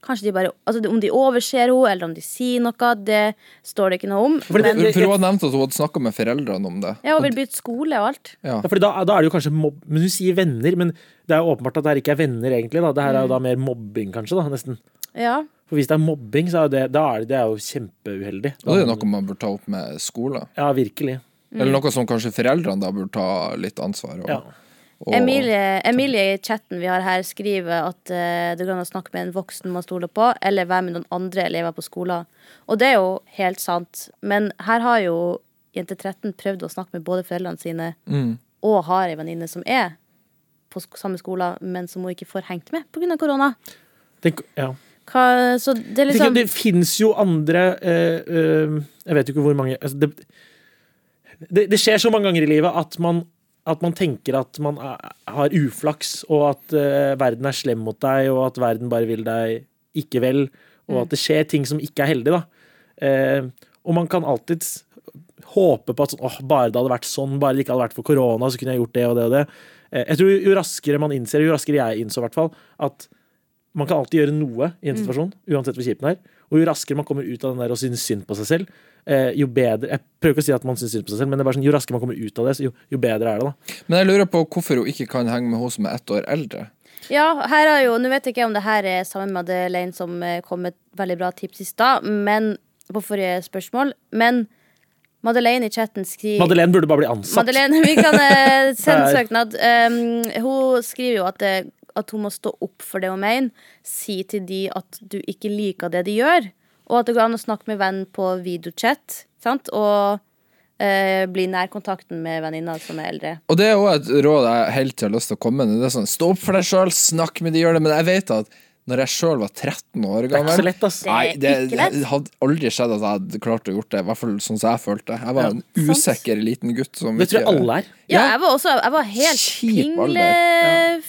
C: Kanskje de bare Altså om de overser henne, eller om de sier noe, det står det ikke noe om.
B: Fordi det-
C: men
D: For for hun hadde nevnt at hun hadde snakka med foreldrene om det.
C: ja, hun vil bytte skole og alt.
D: Ja.
B: Ja, fordi da, da er det jo kanskje mobb... Men hun sier venner, men det er jo åpenbart at det her ikke er venner, egentlig. da. Det her
C: Mm.
B: er jo da mer mobbing, kanskje, da, nesten.
C: Ja.
B: For hvis det er mobbing, så er jo det, da er det, det er jo kjempeuheldig.
D: Og det er noe man burde ta opp med skolen.
B: Ja, virkelig.
D: Eller noe som kanskje foreldrene da burde ta litt ansvar og,
B: Ja.
D: og
C: Emilie, Emilie i chatten vi har her skriver at eh, det går an å snakke med en voksen man stoler på, eller være med noen andre elever på skolen. Og det er jo helt sant, men her har jo jente 13 prøvd å snakke med både foreldrene sine
D: Mm.
C: og har ei venninne som er på sk samme skole, men som hun ikke får hengt med pga. korona.
B: Tenk, ja.
C: Hva, så det er
B: Tenk, at
C: liksom
B: det fins jo andre eh, eh, Jeg vet jo ikke hvor mange altså det, det, det skjer så mange ganger i livet at man, at man tenker at man er, har uflaks, og at eh, verden er slem mot deg, og at verden bare vil deg ikke vel,
C: Mm.
B: og at det skjer ting som ikke er heldig. Da. Eh, og man kan alltids håpe på at sånn, åh, bare det hadde vært sånn, bare det ikke hadde vært for korona, så kunne jeg gjort det og det og det. Eh, Jeg tror jo raskere man innser, jo raskere jeg innså i hvert fall, at man kan alltid gjøre noe i
C: Mm.
B: en situasjon, uansett hvor kjipt den er. Og jo raskere man kommer ut av den der og synes synd på seg selv, eh, jo bedre Jeg prøver ikke å si at man synes synd på seg selv, men det er bare sånn, jo raskere man kommer ut av det, så jo, jo bedre er det, da.
D: Men jeg lurer på hvorfor hun ikke kan henge med hun som er ett år eldre.
C: Ja, her er jo Nå vet jeg ikke om det her er sammen med Adelaine som eh, kom med et veldig bra tips i stad, men på forrige spørsmål. Men Madeleine i chatten skriver
B: Madeleine burde bare bli ansatt.
C: Madeleine, vi kan eh, sende
B: Nei.
C: søknad. Um, hun skriver jo at, det, at hun må stå opp for det hun mener. Si til de at du ikke liker det de gjør, og at det går an å snakke med venn på videochat. Sant? Og eh, bli nærkontakten med venninna som er eldre.
D: Og det er òg et råd jeg helt har lyst til å komme med. Det er sånn, Stå opp for deg sjøl, snakk med de gjør det. Men jeg vet at når jeg sjøl var 13 år
B: Det er ikke
D: gammel
B: så lett, ass.
D: Nei, det,
C: Det er ikke lett.
D: det hadde aldri skjedd at jeg hadde klart å gjort det. I hvert fall sånn som jeg følte. Jeg var en usikker liten gutt. Som
B: Det tror jeg alle er.
C: Ja,
D: Ja.
C: jeg var også jeg var helt
D: Kjip
C: pingle...
D: alder.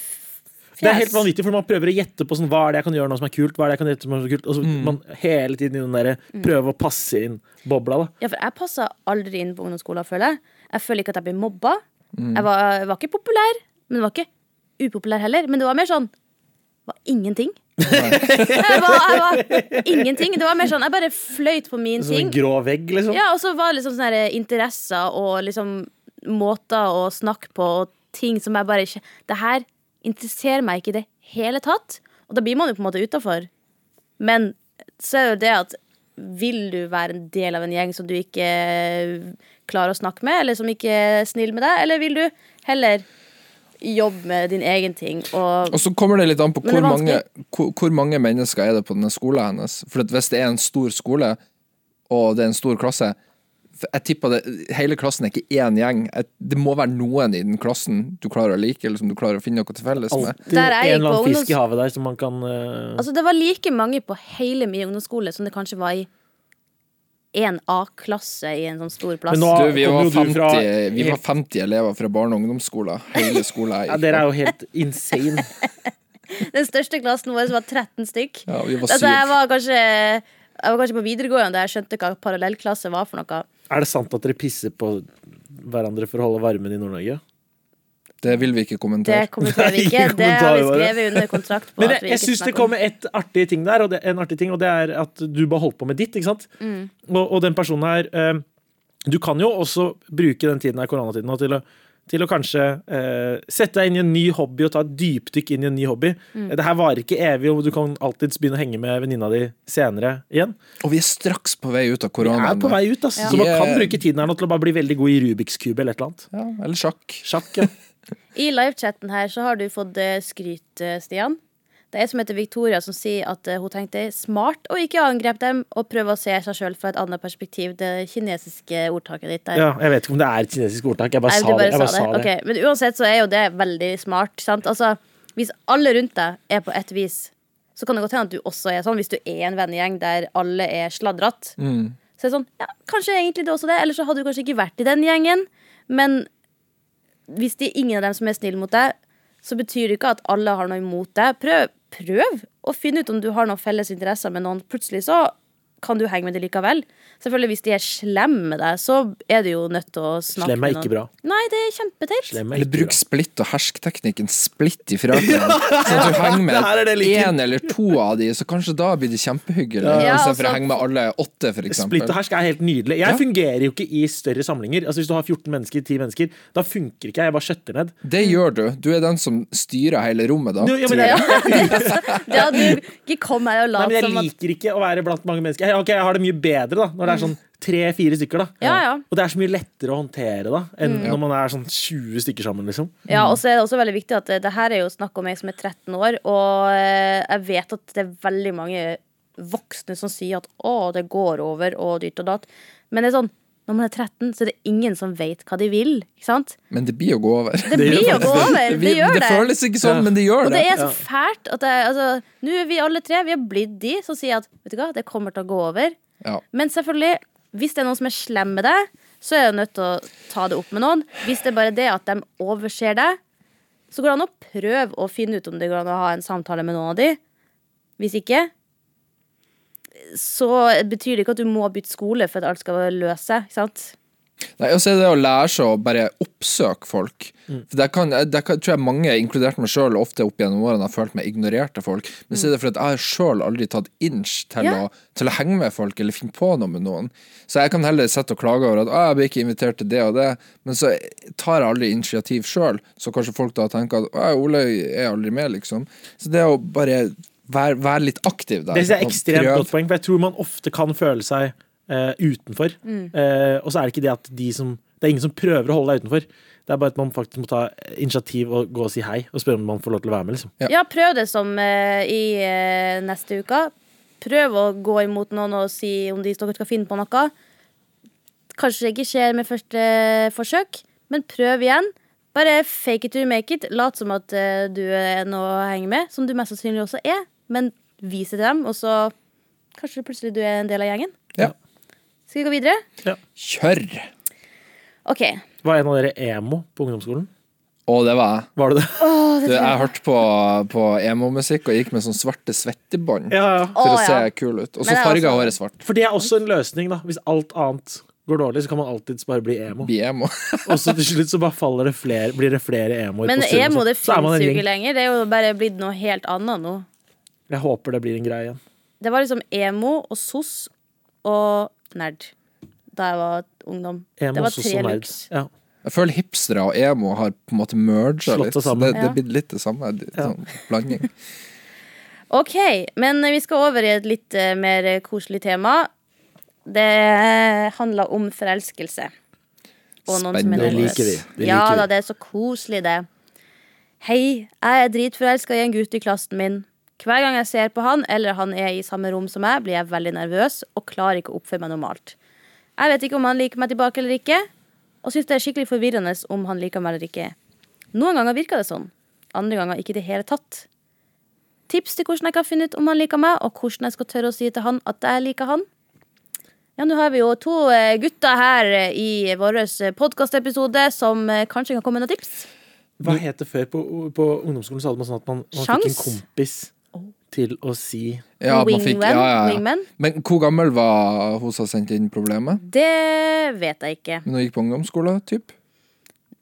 B: Det er helt vanvittig, for man prøver å gjette på sånn, hva er det jeg kan gjøre nå som er kult. hva er det jeg kan gjøre som er så kult, og så man hele tiden i den der, eh,
C: Mm.
B: prøver å passe inn bobla. da.
C: Ja, for jeg passa aldri inn på ungdomsskolen, føler jeg. Jeg føler ikke at jeg ble mobba. Jeg var, jeg var ikke populær, men jeg var ikke upopulær heller. Men det var mer sånn det var ingenting. jeg, var, jeg var ingenting. Det var mer sånn, Jeg bare fløyt på min
B: Sånn en
C: ting.
B: grå vegg, liksom.
C: Ja, Og så var det liksom sånne her interesser og liksom måter å snakke på og ting som jeg bare ikke Det her interesserer meg ikke i det hele tatt. Og da blir man jo på en måte utafor. Men så er det jo det at vil du være en del av en gjeng som du ikke eh, klarer å snakke med, eller som ikke er snill med deg, eller vil du heller jobbe med din egen ting og
D: Og så kommer det litt an på
C: Men det
D: hvor
C: er
D: mange, hvor, hvor mange mennesker er det på denne skolen hennes. For at hvis det er en stor skole, og det er en stor klasse for jeg tipper det, Hele klassen er ikke én gjeng. Jeg- Det må være noen i den klassen du klarer å like, eller som du klarer å finne noe til felles med.
B: Alltid
C: Der
B: en
C: er jeg
B: eller
C: på
B: annen fisk i
C: ungdoms-
B: havet der som man kan eh,
C: Altså, det var like mange på hele min ungdomsskole som det kanskje var i en A-klasse i en sånn stor plass.
B: Men nå-
D: Du, vi,
B: kommer
D: var
B: jo du fra
D: 50, vi var
B: helt-
D: 50 elever fra barne- og ungdomsskolen. Hele skolen. jeg
B: ja,
D: gikk
B: Dere
D: på.
B: er jo helt insane.
C: Den største klassen vår var 13 stykk.
D: Ja, vi var
C: altså,
D: syv.
C: jeg, var kanskje, jeg var kanskje på videregående da jeg skjønte hva parallellklasse var for noe.
B: Er det sant at dere pisser på hverandre for å holde varmen i Nord-Norge?
D: Det vil vi
C: Det
D: ikke kommentere.
C: kommenterer vi
B: Nei,
C: ikke.
B: ikke
C: Det har vi
B: kommentarer bare.
C: skrevet under kontrakt på.
B: Men
C: at
B: jeg,
C: vi
B: jeg
C: ikke
B: syns det
C: snakker om.
B: kommer et artig ting der, og det, en artig ting, og det er at du bare holdt på med ditt. ikke sant?
C: Mm.
B: Og, og den personen her eh, Du kan jo også bruke den tiden her, koronatiden nå, til å, til å kanskje eh, sette deg inn i en ny hobby og ta et dypdykk inn i en ny hobby.
C: Mm.
B: Det her varer ikke evig, og du kan alltids begynne å henge med venninna di senere igjen.
D: Og vi er straks på vei ut av
B: Jeg
D: koronaen.
B: er på vei ut, ass.
C: Ja.
B: så man kan
D: Yeah.
B: bruke tiden her nå til å bare bli veldig god i Rubiks kube eller et eller annet.
D: Ja, eller sjakk.
B: Sjakk, ja.
C: I livechatten her så har du fått eh, skryt, eh, Stian. Det er ei som heter Victoria, som sier at eh, hun tenkte smart å ikke angrepe dem og prøve å se seg sjøl fra et annet perspektiv. Det kinesiske ordtaket ditt der.
B: Ja, jeg vet ikke om det er et kinesisk ordtak. Jeg bare
C: Nei,
B: sa
C: du
B: det.
C: bare
B: Jeg bare
C: sa det.
B: sa det.
C: Ok, Men uansett så er jo det veldig smart. Sant? Altså, hvis alle rundt deg er på ett vis, så kan det godt hende at du også er sånn. Hvis du er en vennegjeng der alle er sladrete,
B: Mm.
C: så er det sånn Ja, kanskje egentlig det også det. Eller så hadde du kanskje ikke vært i den gjengen. Men hvis det er ingen av dem som er snill mot deg, så betyr det ikke at alle har noe imot deg. Prøv, prøv å finne ut om du har noen felles interesser med noen. Plutselig så kan du henge med dem likevel. Selvfølgelig Hvis de er slemme med deg, så er du jo nødt til å snakke
B: Slem er
C: med
B: ikke
C: noen.
B: bra.
C: Nei, det er kjempeteit.
B: Slem er
D: Eller
B: ikke
D: bruk
B: bra.
D: splitt og hersk-teknikken. Splitt ifra hverandre. Sånn at du henger
B: Det her er det
D: med
B: jeg liker.
D: én eller to av de, så kanskje da blir det kjempehyggelig.
C: Ja,
D: Istedenfor
C: altså-
D: å henge med alle åtte, for eksempel.
B: Splitt og hersk er helt nydelig. Jeg fungerer jo ikke i større samlinger. Altså Hvis du har 14 mennesker, 10 mennesker, da funker ikke jeg. Jeg bare skjøtter ned.
D: Det gjør du. Du er den som styrer hele rommet, da.
B: Du, ja, men
D: tror jeg.
B: jeg,
C: altså- Det at du ikke kom her og
B: nei,
C: lat
B: men jeg
C: som at
B: liker ikke å være blant mange mennesker. Jeg- Ok, Jeg har det mye bedre da når det er sånn tre-fire stykker. da
C: Ja, Mm. ja.
B: Og det er så mye lettere å håndtere da enn når man er sånn 20 stykker sammen. liksom
C: Ja, og så er det også veldig viktig at eh, det her er jo snakk om ei som er 13 år, og eh, jeg vet at det er veldig mange voksne som sier at å, det går over, og dytt og datt. Men det er sånn, når man er 13, så er det ingen som vet hva de vil. Ikke sant?
D: Men det blir å gå over.
C: Det,
B: gjør
C: blir å gå
B: faktisk det.
C: over. Det gjør det.
D: føles ikke sånn, men det gjør
C: Og
D: det.
C: det er så fælt at jeg, altså, Nå er vi alle tre, vi har blitt de som sier at vet du hva, det kommer til å gå over.
D: Ja.
C: Men selvfølgelig, hvis det er noen som er slem med deg, så er du nødt til å ta det opp med noen. Hvis det er bare det at de overser deg, så går det an å prøve å finne ut om det går an å ha en samtale med noen av de. Hvis ikke, så betyr det ikke at du må bytte skole for at alt skal løse seg. Ikke sant?
D: Nei, og så er det å lære seg å bare oppsøke folk.
B: Mm.
D: For det kan, det kan, tror jeg mange, inkludert meg sjøl, ofte opp gjennom årene har følt meg ignorert av folk. Men
B: Mm.
D: så er det fordi at jeg sjøl aldri tatt inch til,
C: Ja.
D: å, til å henge med folk eller finne på noe med noen. Så jeg kan heller sitte og klage over at «Å, jeg blir ikke invitert til det og det, men så tar jeg aldri initiativ sjøl. Så kanskje folk da tenker at «Å, Ole er aldri med, liksom. Så det å bare være, være litt aktiv der.
B: Det synes jeg er
D: og
B: ekstremt
D: prøve-
B: godt poeng, for jeg tror man ofte kan føle seg eh, utenfor.
C: Mm.
B: Eh, og så er det ikke det at de som Det er ingen som prøver å holde deg utenfor. Det er bare at man faktisk må ta initiativ og gå og si hei og spørre om man får lov til å være med. liksom
D: Ja.
C: Ja, prøv det som eh, i eh, neste uke. Prøv å gå imot noen og si om de dere skal finne på noe. Kanskje det ikke skjer med første eh, forsøk, men prøv igjen. Bare fake it to make it. Lat som at eh, du er noe å henge med, som du mest sannsynlig også er. Men vis det til dem, og så kanskje plutselig du er en del av gjengen.
D: Ja.
C: Skal vi gå videre?
D: Kjør!
C: OK.
B: Var en av dere emo på ungdomsskolen?
D: Å, det var jeg.
B: Var du det?
D: Du, jeg hørte på, på emo-musikk og gikk med sånn svarte svettebånd
B: Ja, ja.
C: Å,
D: for å se
C: ja.
D: kul ut. Og
C: Men
D: så
C: det er
D: farga
C: altså-
D: håret svart.
B: For det er også en løsning, da. Hvis alt annet går dårlig, så kan man alltids bare bli emo.
D: Bli emo.
B: Og så til slutt så bare faller det flere, blir det flere emoer.
C: Men
B: på studiet,
D: sånn.
C: emo, det
B: så- så er man
C: fins
B: en
C: jo
B: gjeng.
C: ikke lenger. Det er jo bare blitt noe helt annet nå.
B: Jeg håper det blir en greie igjen.
C: Det var liksom emo og sos og nerd da jeg var ungdom. det
B: Emo,
C: var
B: sos og nerds. Ja.
D: Jeg føler hipstere og emo har på en måte merga
B: Slått
D: litt.
B: seg
D: så
B: sammen.
D: Det, det
C: Ja.
D: blir litt det samme. litt Sånn blanding.
C: Ok, men vi skal over i et litt eh, mer koselig tema. Det handler om forelskelse. Og noen som er
D: Spennende. Det
C: nervøs.
B: liker vi. Det
C: ja
B: liker vi.
C: da, det er så koselig, det. Hei, jeg er dritforelska i en gutt i klassen min. Hver gang jeg ser på han, eller han er i samme rom som meg, blir jeg veldig nervøs og klarer ikke å oppføre meg normalt. Jeg vet ikke om han liker meg tilbake eller ikke, og syns det er skikkelig forvirrende om han liker meg eller ikke. Noen ganger virker det sånn, andre ganger ikke i det hele tatt. Tips til hvordan jeg kan finne ut om han liker meg, og hvordan jeg skal tørre å si til han at jeg liker han. Ja, Nå har vi jo to eh, gutter her eh, i vår podkastepisode som eh, kanskje kan komme med noen tips.
B: Hva het det før? På, på ungdomsskolen så hadde man sånn at man, man fikk en
C: Sjans?
B: kompis til å si
D: Ja, man fikk,
C: Wingman,
D: ja, ja, ja.
C: wingman.
D: Men hvor gammel var hun som sendte inn problemet?
C: Det vet jeg ikke.
D: Når hun gikk på ungdomsskolen? Typ?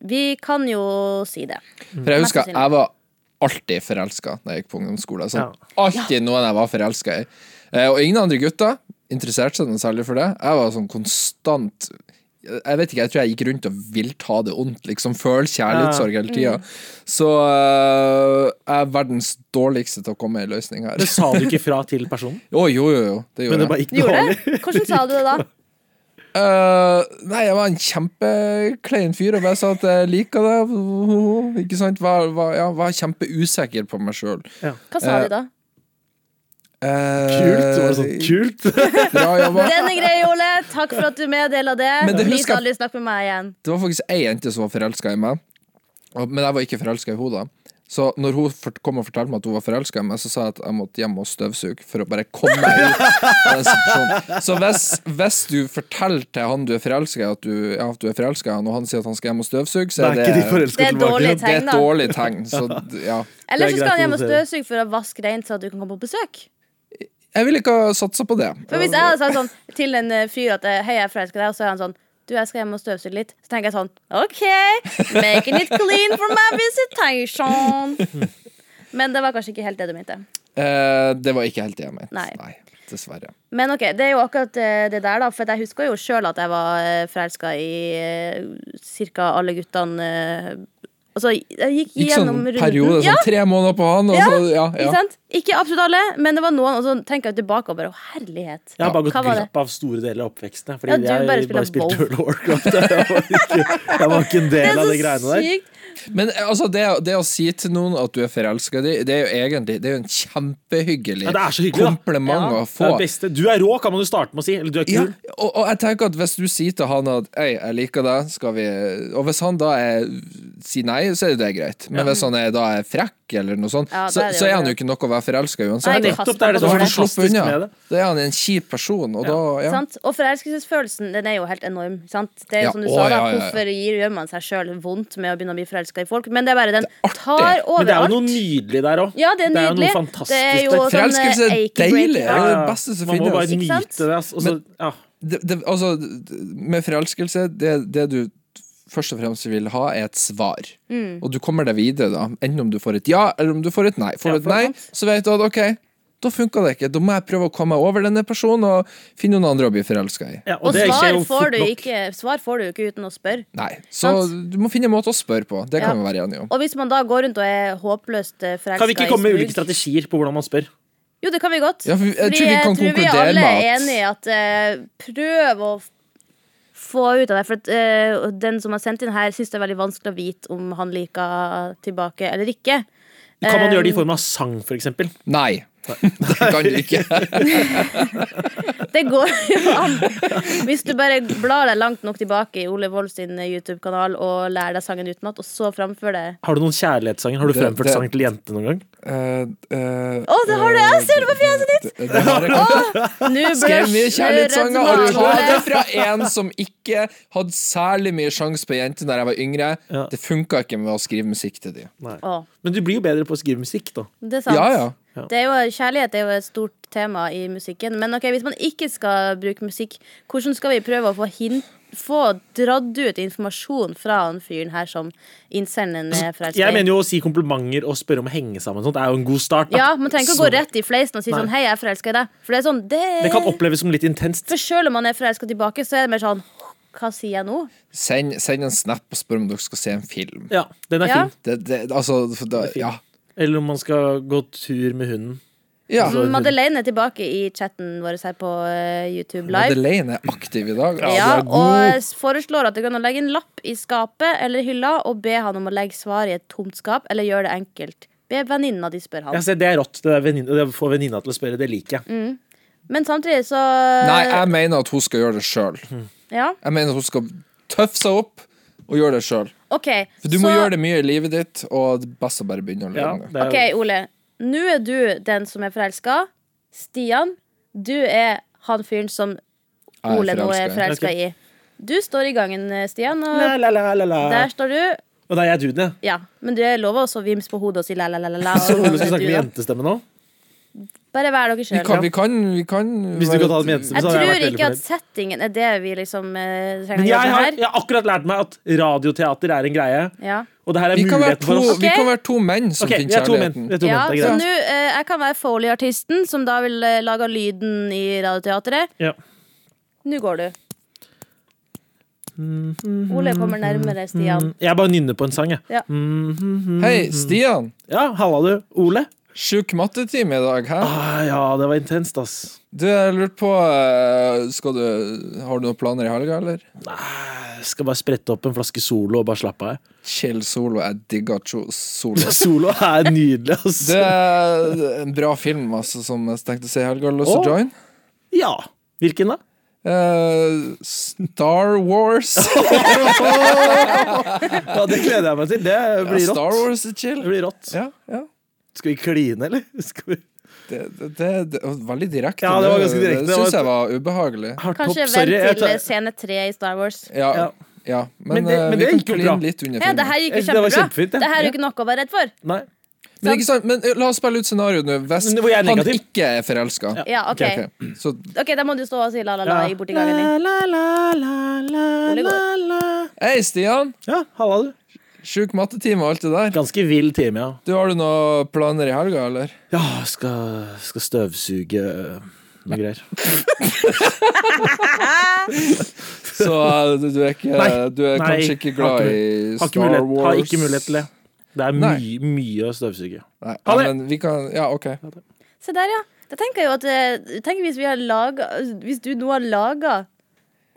C: Vi kan jo si det.
D: Mm. For jeg husker
C: Mest sannsynlig.
D: jeg var alltid forelska da jeg gikk på ungdomsskolen. Sånn, Alltid noen jeg var forelska i. Eh, Og ingen andre gutter interesserte seg noe særlig for det. Jeg var sånn konstant jeg vet ikke, jeg tror jeg gikk rundt og ville ta det ondt. Liksom Føle kjærlighetssorg hele tida.
C: Mm.
D: Så eh, jeg er verdens dårligste til å komme med en løsning her.
B: Det sa du ikke fra til personen,
D: Å, jo, jo, jo.
B: men
D: Det gjorde
B: det
D: jeg.
B: bare gikk
C: Du gjorde
B: dårlig.
C: det? Hvordan sa du det da?
D: Eh, nei, jeg var en kjempeklein fyr og bare sa at jeg liker det. Ikke sant? Var, var, ja, var kjempeusikker på meg sjøl.
C: Hva sa de da?
B: Kult! Var det
D: Eh,
B: sånn kult?
D: Bra jobba.
C: Den er grei, Ole. Takk for at du meddela det.
D: Men det
C: Vi
D: husker-
C: skal aldri snakke med meg igjen.
D: Det var faktisk ei jente som var forelska i meg, og- men jeg var ikke forelska i henne. da. Så når hun fort- kom og fortalte meg at hun var forelska i meg, så sa jeg at jeg måtte hjem og støvsuge for å bare komme meg ut av den situasjonen. Så hvis, hvis du forteller til han du er forelska i, at du, ja, at du er forelska i han, og han sier at han skal hjem og støvsuge, så
B: Da
D: er
B: er
D: det,
B: ikke de
D: det
B: forelska
C: Det er dårlig
B: tilbake.
C: tegn.
D: er et
C: da.
D: dårlig tegn. Så d- ja.
C: Eller
B: Det er
C: så
B: greit
C: skal han
B: å
C: hjem og
B: notere.
C: støvsuge for å vaske rent, så at du kan komme på besøk.
D: Jeg ville ikke ha satsa på det.
C: For Hvis jeg hadde sagt sånn til en eh, fyr at eh, hei, jeg forelsker deg, og så er han sånn du, jeg skal hjem og støvsuge litt. Så tenker jeg sånn OK, making it clean for my visitation. Men det var kanskje ikke helt det du mente.
D: Eh, det var ikke helt det jeg mente.
C: Nei.
D: Nei, dessverre.
C: Men ok, det er jo akkurat eh, det der, da. For jeg husker jo sjøl at jeg var eh, forelska i eh, ca. alle guttene. eh, Altså, jeg gikk
D: Gikk
C: gjennom
D: sånn
C: runden.
D: periode, sånn
C: ja,
D: tre måneder på han, og
C: Ja,
D: så ja, ja.
C: Ikke sant? Ikke absolutt alle, men det var noen. Og så tenker jeg tilbake og bare å, herlighet.
B: Jeg har bare
C: Hva
B: gått
C: var
B: glipp av store deler av oppveksten. jeg, Fordi
C: Ja, du
B: jeg
C: bare
B: bare,
C: spiller
B: spilte
C: Wolf.
B: World of Warcraft. Jeg var ikke, jeg var ikke en
C: Det
B: del av de
C: er
B: greiene
C: så
B: der.
C: sykt.
D: Men altså, det, det å si til noen at du er forelska i dem, det er jo egentlig det er jo en kjempehyggelig
B: Ja, det er så hyggelig, da.
D: kompliment
C: Ja.
B: Det
D: å
B: er
D: få.
B: det beste. Du er rå, kan man jo starte med å si. Eller du er
D: Ja,
B: kul.
D: og, og jeg tenker at hvis du sier til han at Ei, jeg liker deg, skal vi Og hvis han da er, sier nei, så er jo det greit. Men hvis han er, da er frekk eller noe sånt,
C: Ja, da
D: så,
C: er det
D: så
C: jo
D: er han
C: det.
D: jo ikke noe å være forelska i
C: Nei,
D: uansett.
C: det-
D: Da.
B: Nettopp det er det
D: Da
B: som
D: har
B: er
D: du sluppet
B: fantastisk
D: unna.
B: med det.
D: Da er han en kjip person, og da ja.
C: Sant? Og forelskelsesfølelsen den er jo helt enorm. Sant? Det er
D: Ja,
C: jo som du
D: å,
C: sa da
D: ja, ja, ja.
C: Hvorfor gir, gjør man seg sjøl vondt med å begynne å bli forelska i folk? Men det er bare den
D: artig.
C: tar
B: Men det er jo
C: over
B: noe
C: alt. nydelig.
B: nydelig der òg.
C: Ja, det er
B: jo
C: nydelig.
B: noe fantastisk
C: Det er jo
B: der.
C: sånn, eh,
D: Forelskelse er
C: achy
D: deilig! Det
C: breaking.
D: er
B: Ja,
D: det
B: ja.
D: beste som
B: Man må bare
D: finnes.
C: Ikke
B: nyte
C: sant?
B: det. ass. Og så- ja.
D: det, det, altså, med forelskelse, det, det du først og fremst vil ha, er et svar.
C: Mm.
D: Og du kommer deg videre, da. Enten om du får et ja, eller om du får et nei. Får du et
C: for
D: nei,
C: sant.
D: så vet du at ok, da funka det ikke. Da må jeg prøve å komme meg over denne personen og finne noen andre å bli forelska i.
B: Ja, og
C: Og
B: det skjer
C: svar
B: jo fort
C: får, du
B: nok.
C: ikke, svar får du jo ikke uten å spørre.
D: Nei. Så
C: Sant.
D: du må finne en måte å spørre på. Det
C: Ja.
D: kan vi være enige om.
C: Og hvis man da går rundt og er håpløst eh, forelska
B: Kan vi ikke komme med ulike strategier på hvordan man spør?
C: Jo, det kan vi godt.
D: Ja, for jeg
C: Fordi
D: tror vi kan konkludere
C: alle
D: med
C: er
D: at-
C: enig i at eh, prøv å f- få ut av det. For at, eh, den som har sendt inn her, syns det er veldig vanskelig å vite om han liker tilbake eller
B: Kan
C: ikke.
B: man
C: Eh,
B: gjøre det i form av sang, for eksempel?
D: Nei. Det kan du ikke.
C: Eh, Det går jo an. Hvis du bare blar deg langt nok tilbake i Ole Wold sin eh, YouTube-kanal og lærer deg sangen utenat, og så framfører det
B: Har du noen kjærlighetssanger? Har du
D: Det-
B: fremført
D: det-
B: sang til jente noen gang?
D: Eh, eh,
C: Å, det har du! Jeg ser det på fjeset ditt!
D: det- det har jeg kanskje.
C: Nå
D: Skrev mye
C: blusher
D: kjærlighetssanger, og du har det
C: Ole.
D: fra en som ikke hadde særlig mye sjanse på jenter da jeg var yngre.
B: Ja.
D: Det funka ikke med å skrive musikk til de.
C: Å,
B: Men du blir jo bedre på å skrive musikk, da.
C: det er sant.
D: Ja, ja.
C: Det er jo, kjærlighet er jo et stort tema i musikken. Men ok, hvis man ikke skal bruke musikk, hvordan skal vi prøve å få, hin få dratt ut informasjon fra han fyren her som innsenderen er
B: Jeg
C: forelska i?
B: mener jo å si komplimenter og spørre om å henge sammen og sånt er jo en god start. da.
C: Ja, man trenger ikke å gå rett i fleisen og si
B: Nei.
C: sånn 'hei, jeg er forelska i deg'. For det er sånn, det,
B: Det kan oppleves som litt intenst.
C: For selv om man er forelska tilbake, så er det mer sånn Hva sier jeg nå?
D: Send, send en snap og spør om dere skal se en film.
B: Ja, den er
C: Ja.
B: fin.
D: Det, det, altså, for da, ja.
B: Eller om man skal gå tur med hunden.
D: ja.
B: Så-
C: Madeleine er tilbake i chatten vår her på eh, YouTube Live.
D: Madeleine er aktiv i dag. Altså,
C: Ja,
D: du er
C: og
D: god.
C: s- foreslår at det går an å legge en lapp i skapet eller hylla og be han om å legge svar i et tomt skap, eller gjør det enkelt. Be venninna di
B: Jeg
C: spørre han.
B: ser, det er rått. Det, der venninne- det å få venninna til å spørre, det liker jeg.
C: Mm. Men samtidig så
D: Nei, jeg mener at hun skal gjøre det sjøl.
C: Ja,
D: Jeg mener at hun skal tøffe seg opp og gjøre det sjøl.
C: OK.
D: For du må gjøre det mye i livet ditt, og det er best å bare begynne å leve
B: Ja,
D: med det.
B: det er,
C: OK, Ole. Nå er du den som er forelska. Stian, du er han fyren som
D: Jeg er
C: Ole nå er
D: forelsket.
C: forelska i. Du står i gangen, eh, Stian,
B: La,
C: og
B: la, la, la, la.
C: der står du.
B: Og det er jeg duden, jeg.
C: Ja, men du er lov å også vimse på hodet og si la-la-la-la.
B: Så du skal snakke med jentestemme nå?
C: Bare vær dere
D: Vi
C: sjøl.
D: kan, vi kan, vi kan
B: Hvis du
D: være-
B: kan ta det med jentestemme,
C: Jeg
B: så hadde jeg
C: tror
B: vært veldig
C: ikke at
B: fornøyd.
C: settingen er det vi liksom eh,
B: Men
C: trenger å
B: jeg
C: gjøre
B: har,
C: her.
B: jeg har akkurat lært meg at radioteater er en greie,
C: Ja.
B: og det her er
D: Vi kan, være
B: muligheten
D: to,
B: for oss.
D: vi
C: Ok.
D: kan være to menn som
B: Ok, vi
D: finner
B: er to menn.
D: kjærligheten.
B: Vi er to
C: Ja,
B: menn, det
C: så
B: er greit.
C: nå eh, Jeg kan være Foley-artisten, som da vil eh, lage lyden i Radioteatret.
B: Ja.
C: Nå går du. Ole kommer nærmere Stian.
B: Mm, Jeg bare nynner på en sang, jeg.
D: Hei, Stian.
B: Ja, halla du, Ole.
D: Sjuk mattetime i dag, hæ?
B: Ah, ja, det var intenst, ass.
D: Du, jeg lurte på eh, skal du, Har du noen planer i helga, eller?
B: Jeg skal bare sprette opp en flaske Solo og bare slappe av.
D: Chill solo. Jeg digger cho- solo.
B: Solo er nydelig, ass.
D: Det er en bra film altså, som jeg tenkte å se i helga. Lyst til
B: Å.
D: å join?
B: Ja. Hvilken da?
D: Eh, Star Wars.
B: Ja, Det gleder jeg meg til. Det
D: Ja,
B: blir
D: Star
B: rått.
D: Wars er
B: Det
D: chill.
B: blir rått.
D: Ja, ja.
B: Skal vi kline, eller? Skal vi...
D: Det, det, det, det var veldig direkte.
B: Ja, det var ganske direkte. Det
D: Det
B: var-
D: syns jeg var ubehagelig.
B: Hardt hopp,
C: Kanskje
B: sorry, jeg
C: vent til
B: tar-
C: scene tre i Star Wars.
D: Ja,
B: Ja.
D: ja. Men,
B: Men det-
D: eh,
B: men det
D: vi kan
B: gikk jo
D: kline
B: bra.
D: litt under
C: Ja,
D: filmen.
C: det her gikk jo
B: Jeg synes det var
C: kjempebra.
B: kjempefint, ja.
C: Det her er
B: Ja.
C: jo ikke noe å være redd for.
B: Nei.
D: Men, ikke sant? men eh, la oss spille ut scenarioet nå. Hvis
B: Men hvor jeg er
D: han
B: negativ.
D: ikke er forelska.
C: Ja, ok
D: Ok, Så
C: Ok, Da må du stå og si la-la-la
B: Ja.
C: borti gangen din.
B: La, la, la, la,
C: Ole går.
B: la.
D: Hei, Stian.
B: Ja, halla, du.
D: Sjuk mattetime og alt det der.
B: Ganske vill time, ja.
D: Du, Har du noen planer i helga, eller?
B: Ja, skal, skal støvsuge øh, noe greier.
D: Så eh, du, du er, ikke,
B: Nei.
D: du er
B: Nei,
D: kanskje ikke glad
B: har ikke
D: i
B: Har ikke,
D: Star
B: mulighet,
D: Wars?
B: har ikke mulighet til det. Det er
D: Nei.
B: mye, mye å støvsuge. Ha
D: Nei, ja,
B: det.
D: men vi kan Ja, OK.
C: Se der, ja. Da tenker jeg jo at eh, tenk hvis, vi har laget, hvis du nå har laga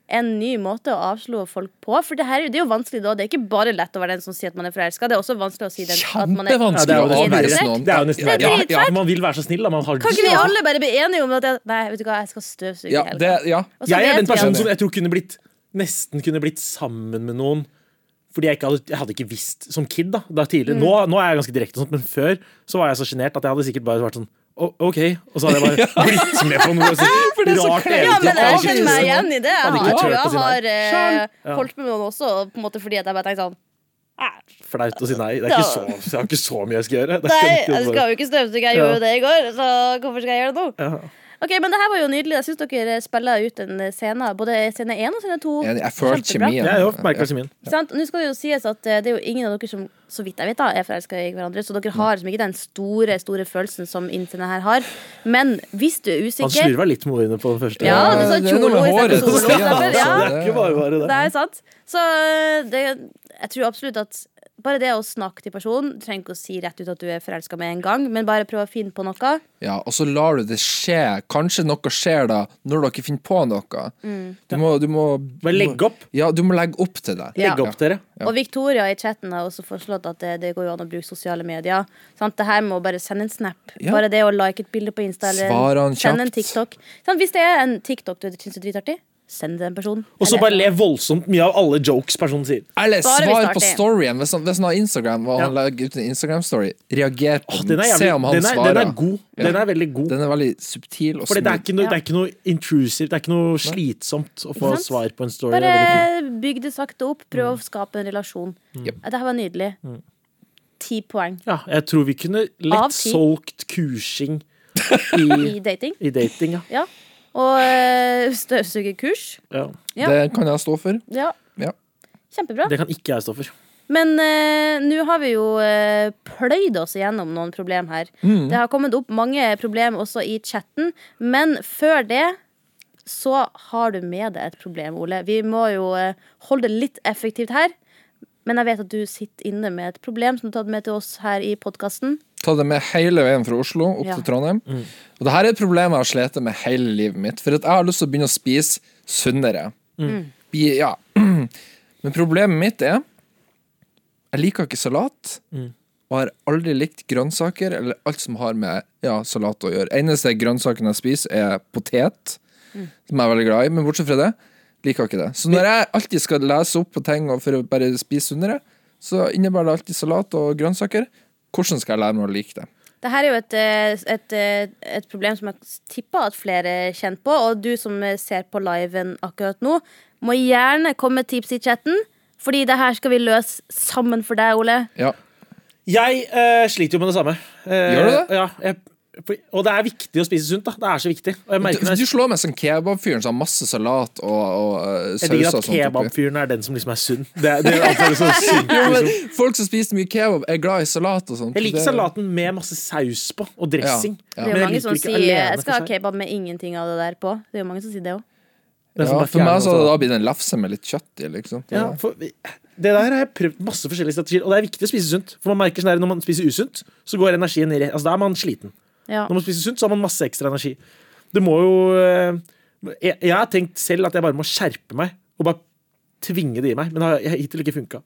C: en ny måte å avslå folk på. For det her det er jo vanskelig da. Det er ikke bare lett å være den som sier at man er forelska. Det er også vanskelig å si den, at man
B: Ja,
C: er
B: det
D: Kjempevanskelig
B: er
D: å
B: jo nesten
D: avverge
C: verre.
D: noen.
B: Det er jo nesten
D: Ja,
B: verre.
D: ja, ja,
B: Men Man vil være så snill, da. Man har
C: Kan ikke vi
B: lyst.
C: alle bare bli enige om at jeg, Nei, vet du hva, jeg skal støvsuge
D: ja,
C: i helga.
D: det, ja.
C: Og så
B: Altså, Jeg er
C: vet
B: den
C: vi at-
B: personen som jeg tror kunne blitt nesten kunne blitt sammen med noen. Fordi jeg, ikke hadde, jeg hadde ikke visst som kid. da, da
C: Mm.
B: tidligere, nå, nå er jeg ganske direkte, og sånt, men før så var jeg så sjenert at jeg hadde sikkert bare vært sånn «Å, OK. Og så hadde jeg bare blitt med på noe sånt rart. eventyr.
C: Ja, men
B: Jeg
C: jeg kjenner meg
B: visste-
C: igjen i det. Jeg
B: Hadde ikke
C: har,
B: turt å
C: jeg
B: si nei.
C: har eh,
B: Ja.
C: holdt med noen også, på en måte fordi at jeg bare tenkte sånn
B: Flaut å si nei. Det er ikke så, jeg har ikke så mye jeg skal gjøre. Det
C: Nei,
B: er ikke
C: jeg
B: noe-
C: skal jo ikke støvsuge, jeg gjorde
B: Ja.
C: jo det i går, så hvorfor skal jeg gjøre det nå?
B: Ja.
C: Ok, men det her var jo nydelig. Jeg syns dere spiller ut en scene, både scene én og scene to.
D: Jeg, jeg følte
C: Kjempebra.
D: kjemien.
B: Jeg har merka kjemien.
C: Ikke sant? Nå skal det jo sies at eh, det er jo ingen av dere som så vidt jeg vet da, er forelska i hverandre, så dere har liksom ikke den store store følelsen som internet her har. Men hvis du er
B: Han
C: usikker
B: slurva litt med ordene på den første.
C: Ja, det er sånn
D: Eh, det er noe
C: kjolo
D: med
C: i stedet
D: håret
C: for
D: til
C: solo,
D: Stian.
C: stemmer, ja.
D: altså.
B: Det er ikke bare bare det.
C: Det er sant. Så eh, det, jeg tror absolutt at bare det å snakke til personen Du trenger ikke å si rett ut at du er forelska med en gang, men bare prøv å finne på noe.
D: Ja, og så lar du det skje. Kanskje noe skjer da, når dere finner på noe.
C: Mm.
D: Du må, du må
B: Bare legge opp.
D: Ja, du må legge opp til det.
C: Ja.
B: Legge opp dere.
C: Og Victoria i chatten har også foreslått at det, det går jo an å bruke sosiale medier. Sant? Det her med å bare sende en snap.
D: Ja.
C: Bare det å like et bilde på Insta eller
D: Svarer han
C: sende en
D: kjapt?
C: TikTok. Sant? Hvis det er en TikTok du syns er dritartig, send den personen.
B: Og så
C: Eller-
B: bare le voldsomt mye av alle jokes personen sier.
D: Eller
C: Bare hvis
D: svar
C: det er
D: på
C: artig.
D: storyen. Hvis han, hvis han har Instagram og han
B: Ja.
D: legger ut en Instagram-story, reager på
B: Den
D: den.
B: er,
D: Se om
B: jævlig,
D: han
B: den, er,
D: svarer.
B: den er god. Den er veldig god.
D: Den er veldig subtil og
B: Fordi det er
D: smooth.
B: ikke noe,
C: Ja.
B: det er ikke noe intrusivt, det er ikke noe slitsomt å få
C: Ikke sant?
B: svar på en story. Det er veldig fint.
C: Bare bygg det sakte opp. Prøv å skape en relasjon.
D: Mm. Jep.
C: Ja, Det her var nydelig.
B: Mm.
C: Ti poeng
B: Ja, jeg tror vi kunne
C: Av
B: lett
C: ti.
B: solgt kursing i,
C: i dating.
B: i dating. Ja.
C: Ja. Og eh, støvsugerkurs.
B: Ja.
C: Ja.
D: Det kan jeg stå for.
C: Ja.
D: Ja.
C: Kjempebra.
B: Det kan ikke jeg stå for.
C: Men eh, nå har vi jo eh, pløyd oss igjennom noen problem her. Det har kommet opp mange problem også i chatten, men før det så har du med deg et problem, Ole. Vi må jo eh, holde det litt effektivt her. Men jeg vet at du sitter inne med et problem som du har tatt med til oss her i podkasten.
D: Ta det med hele veien fra Oslo opp
C: Ja.
D: til Trondheim.
B: Mm.
D: Og det her er et problem jeg har slitt med hele livet mitt. For at jeg har lyst til å begynne å spise sunnere.
B: Mm.
C: Mm.
D: Bi- Ja. Men problemet mitt er Jeg liker ikke salat.
B: Mm.
D: Og har aldri likt grønnsaker eller alt som har med ja, salat å gjøre. Eneste grønnsaken jeg spiser, er potet, som jeg er veldig glad i. Men bortsett fra det, liker jeg ikke det. Så når jeg alltid skal lese opp på ting og for å bare spise sunnere, så innebærer det alltid salat og grønnsaker. Hvordan skal jeg lære meg å like det?
C: Det her er jo et, eh, et, eh, et problem som jeg tipper at flere kjenner på. Og du som eh, ser på liven akkurat nå, må gjerne komme med tips i chatten. Fordi det her skal vi løse sammen for deg, Ole.
D: Ja.
B: Jeg eh, sliter jo med det samme. Eh,
D: Gjør du det?
B: Ja, jeg, for- og det er viktig å spise sunt. da Det er så viktig. Og jeg merker
D: Du,
B: når
D: du
B: jeg,
D: slår meg som kebabfyren som har masse salat og, og eh,
B: jeg digger at
D: sauser og sånt. oppi.
B: kebabfyren er den som liksom er sånn sunn. Det, det anføres som sunt.
D: Jo, men folk som spiser mye kebab, er glad i salat og sånt.
B: Jeg liker
D: Det-
B: salaten med masse saus på, og dressing.
C: Det
D: Ja.
C: er
B: Men
C: jo
B: jeg
C: mange
B: liker
C: som
B: ikke
C: sier
B: alene
C: jeg skal
B: for
C: ha
B: seg.
C: kebab med ingenting av det der på. Det er jo mange som sier det òg.
B: Det er
D: Ja,
B: sånn bare
D: for meg
B: fjerner
D: så hadde det
B: alt.
D: da blitt en lefse med litt kjøtt i, liksom.
B: Ja, for, det der har jeg prøvd masse forskjellige strategier, og det er viktig å spise sunt. For man merker sånn der, Når man spiser usunt, så går energien i re- Altså, Da er man sliten.
C: Ja.
B: Når man spiser sunt, så har man masse ekstra energi. Det må jo eh, jeg, jeg har tenkt selv at jeg bare må skjerpe meg og bare tvinge det i meg, men det har jeg- hittil ikke funka.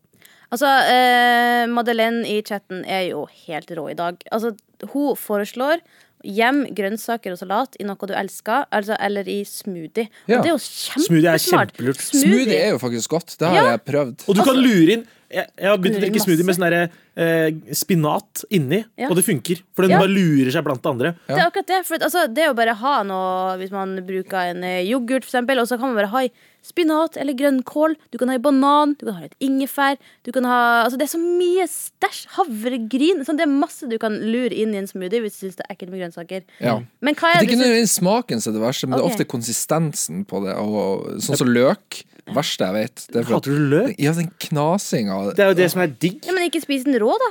C: Altså, eh, Madeleine i chatten er jo helt rå i dag. Altså, Hun foreslår hjem grønnsaker og salat i noe du elsker, altså, eller i smoothie.
D: Ja.
C: Og det er jo
B: Smoothie er
C: kjempesmart.
B: kjempelurt.
D: Smoothie er jo faktisk godt. Det har
C: Ja.
D: jeg prøvd.
B: Og du kan lure inn Jeg, jeg har begynt å
C: Lurer Altså, inn
B: drikke smoothie med sånn der, eh, spinat inni,
C: Ja.
B: og det funker. For den
C: Ja.
B: bare lurer seg blant det andre.
C: Det er akkurat det. For at, altså, det å bare ha noe Hvis man bruker en eh, yoghurt, for eksempel, og så kan man bare ha i spinat eller grønnkål. Du kan ha i banan, du kan ha litt ingefær. Du kan ha, altså, det er så mye stæsj. Havregryn. Sånn, det er masse du kan lure inn i en smoothie hvis du syns det er ekkelt med grønnsaker.
D: Ja.
C: Men hva
D: Det
C: er
D: er
C: Eh, det du
D: ikke
C: syns-
D: nødvendigvis smaken som er det verste, men det er
C: Ok.
D: ofte konsistensen på det. Og, og, sånn som løk. Verste jeg vet. Det er for at-
B: Hater du løk?
D: Ja, sånn den knasinga.
B: Det er jo det som er digg.
C: Ja, men ikke spis den rå, da.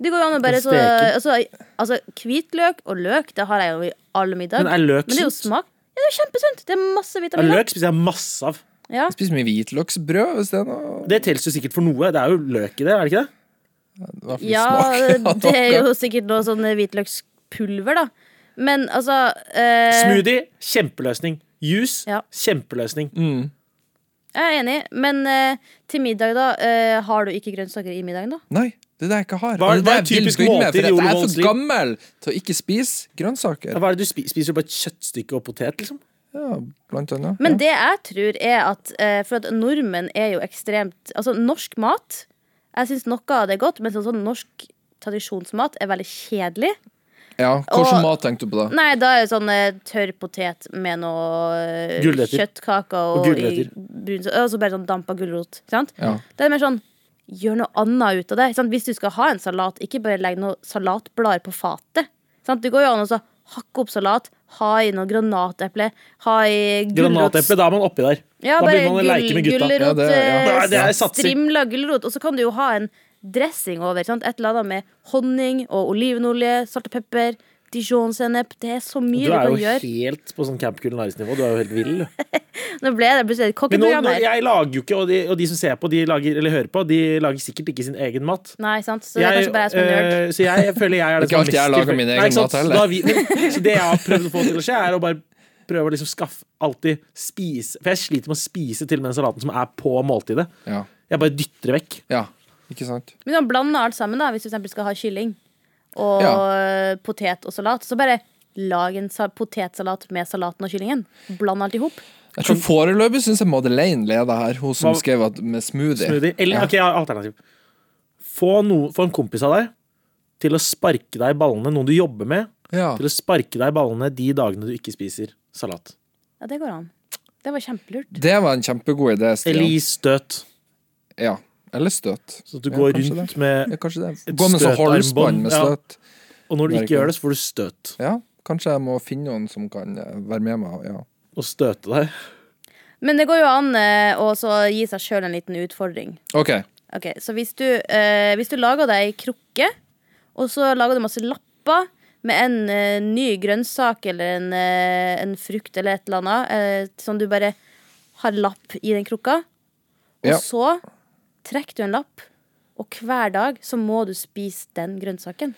C: Det går jo an å bare
B: Den
C: så, altså, altså, Hvitløk og løk, det har jeg jo i all middag.
B: Men er løk
C: Men det er jo
B: sunt?
C: smak. Ja, det er jo kjempesunt. Det er masse
B: Ja,
C: vitaminer.
B: løk spiser jeg masse av.
C: Ja.
D: Spis mye hvitløksbrød hvis det er noe
B: Det telles jo sikkert for noe. Det er jo løk i det, er det ikke det?
D: i hvert fall
C: ja,
D: smaken av
C: det er
D: noe.
C: jo sikkert noe sånn hvitløkspulver, da. Men altså eh,
B: Smoothie kjempeløsning. Juice
C: Ja. Mm.
B: kjempeløsning.
C: Jeg er enig, men eh, til middag, da. Eh, har du ikke grønnsaker i middagen, da?
D: Nei, det er det jeg ikke har.
B: Hva-
D: Og det
B: hva er
D: jeg vil
B: typisk
D: begynne med,
B: måltid
D: for
B: i
D: at
B: Ole
D: Jeg er
B: Vågs
D: for
B: liv?
D: gammel til å ikke spise grønnsaker.
B: Ja, Hva er det du spiser? Spiser du bare et kjøttstykke og potet, liksom?
D: Ja, blant annet.
C: Men det jeg tror er at eh, For at nordmenn er jo ekstremt Altså norsk mat Jeg synes noe av det er godt Men sånn, sånn norsk tradisjonsmat er veldig kjedelig
D: Ja, Hva
C: Og-
D: slags mat tenkte du på da?
C: Nei, da er det sånn eh, tørr potet Med noe eh,
B: Gulrøtter.
C: kjøttkaker
B: Og
C: Og, i
B: gulrøtter.
C: brun, og så bare sånn dampa gulrot Ikke sant?
D: Ja.
C: Det er mer sånn Gjør noe annet ut av det ikke sant? Hvis du skal ha en salat Ikke bare legg noen salatblader på fatet ikke sant? Det går jo an å så hakke opp salat Ha i noen granateple Ha i gulrots
B: Granateple, da er man oppi der.
C: ja,
B: da
C: bare
B: begynner man å leke med gutta.
D: Ja,
C: Gulrot,
D: det- ja.
C: eh,
B: Nei, det er satsing.
C: strimla gulrot. Og så kan du jo ha en dressing over. Sant? Et eller annet med honning og olivenolje, salt og pepper, dijonsennep. Det er så mye
B: Du
C: du,
B: er
C: kan
B: jo
C: gjøre.
B: helt på sånn Camp Kulinaris-nivå. Du er jo helt vill.
C: Nå ble det plutselig
B: Men
C: et
B: nå,
C: kokkeprogram
B: nå,
C: her.
B: jeg lager jo ikke, og de, og de som ser på, de lager, eller hører på, de lager sikkert ikke sin egen mat.
C: Nei, sant? Så det er kanskje bare jeg som er nerd.
B: øh, så jeg, jeg føler jeg er den
D: Ikke alltid jeg lager min egen mat heller.
B: heller. Så det jeg har prøvd å få til å skje, er å bare prøve å liksom skaffe alltid spise For jeg sliter med å spise til og med den salaten som er på måltidet.
D: Ja.
B: Jeg bare dytter det vekk.
D: ja. Ikke sant?
C: Men du kan blande alt sammen, da, hvis du for eksempel skal ha kylling og eh, potet og salat. Så bare lag en sa potetsalat med salaten og kyllingen. Bland alt i hop.
D: Jeg tror Foreløpig syns jeg Madeleine leder her, hun som
B: Hva-
D: skrev at med smoothie.
B: Smoothie. Eller,
D: Ja.
B: ok, jeg har alternativ. Få, noe- få en kompis av deg til å sparke deg i ballene, noen du jobber med,
D: Ja.
B: til å sparke deg i ballene de dagene du ikke spiser salat.
C: Ja, det går an. Det var kjempelurt.
D: Det var en kjempegod idé,
B: Eller
D: Stian.
B: gi støt,
D: Ja. Eller støt.
B: så at du
D: Ja,
B: går
D: kanskje
B: rundt
D: det.
B: med
D: Ja, kanskje det.
B: Et
D: Gå med sånn
B: støtarmbånd,
D: halsbånd med
B: ja.
D: støt.
B: Og når du
D: Merker.
B: ikke gjør det, så får du støt.
D: Ja. Kanskje jeg må finne noen som kan eh, være med meg. Ja.
B: Og støte deg.
C: Men det går jo an eh, å så gi seg sjøl en liten utfordring.
D: OK.
C: Ok, Så hvis du, eh, hvis du lager deg ei krukke, og så lager du masse lapper med en eh, ny grønnsak eller en, eh, en frukt eller et eller annet, eh, sånn du bare har lapp i den krukka, og
D: Ja.
C: så trekker du en lapp, og hver dag så må du spise den grønnsaken.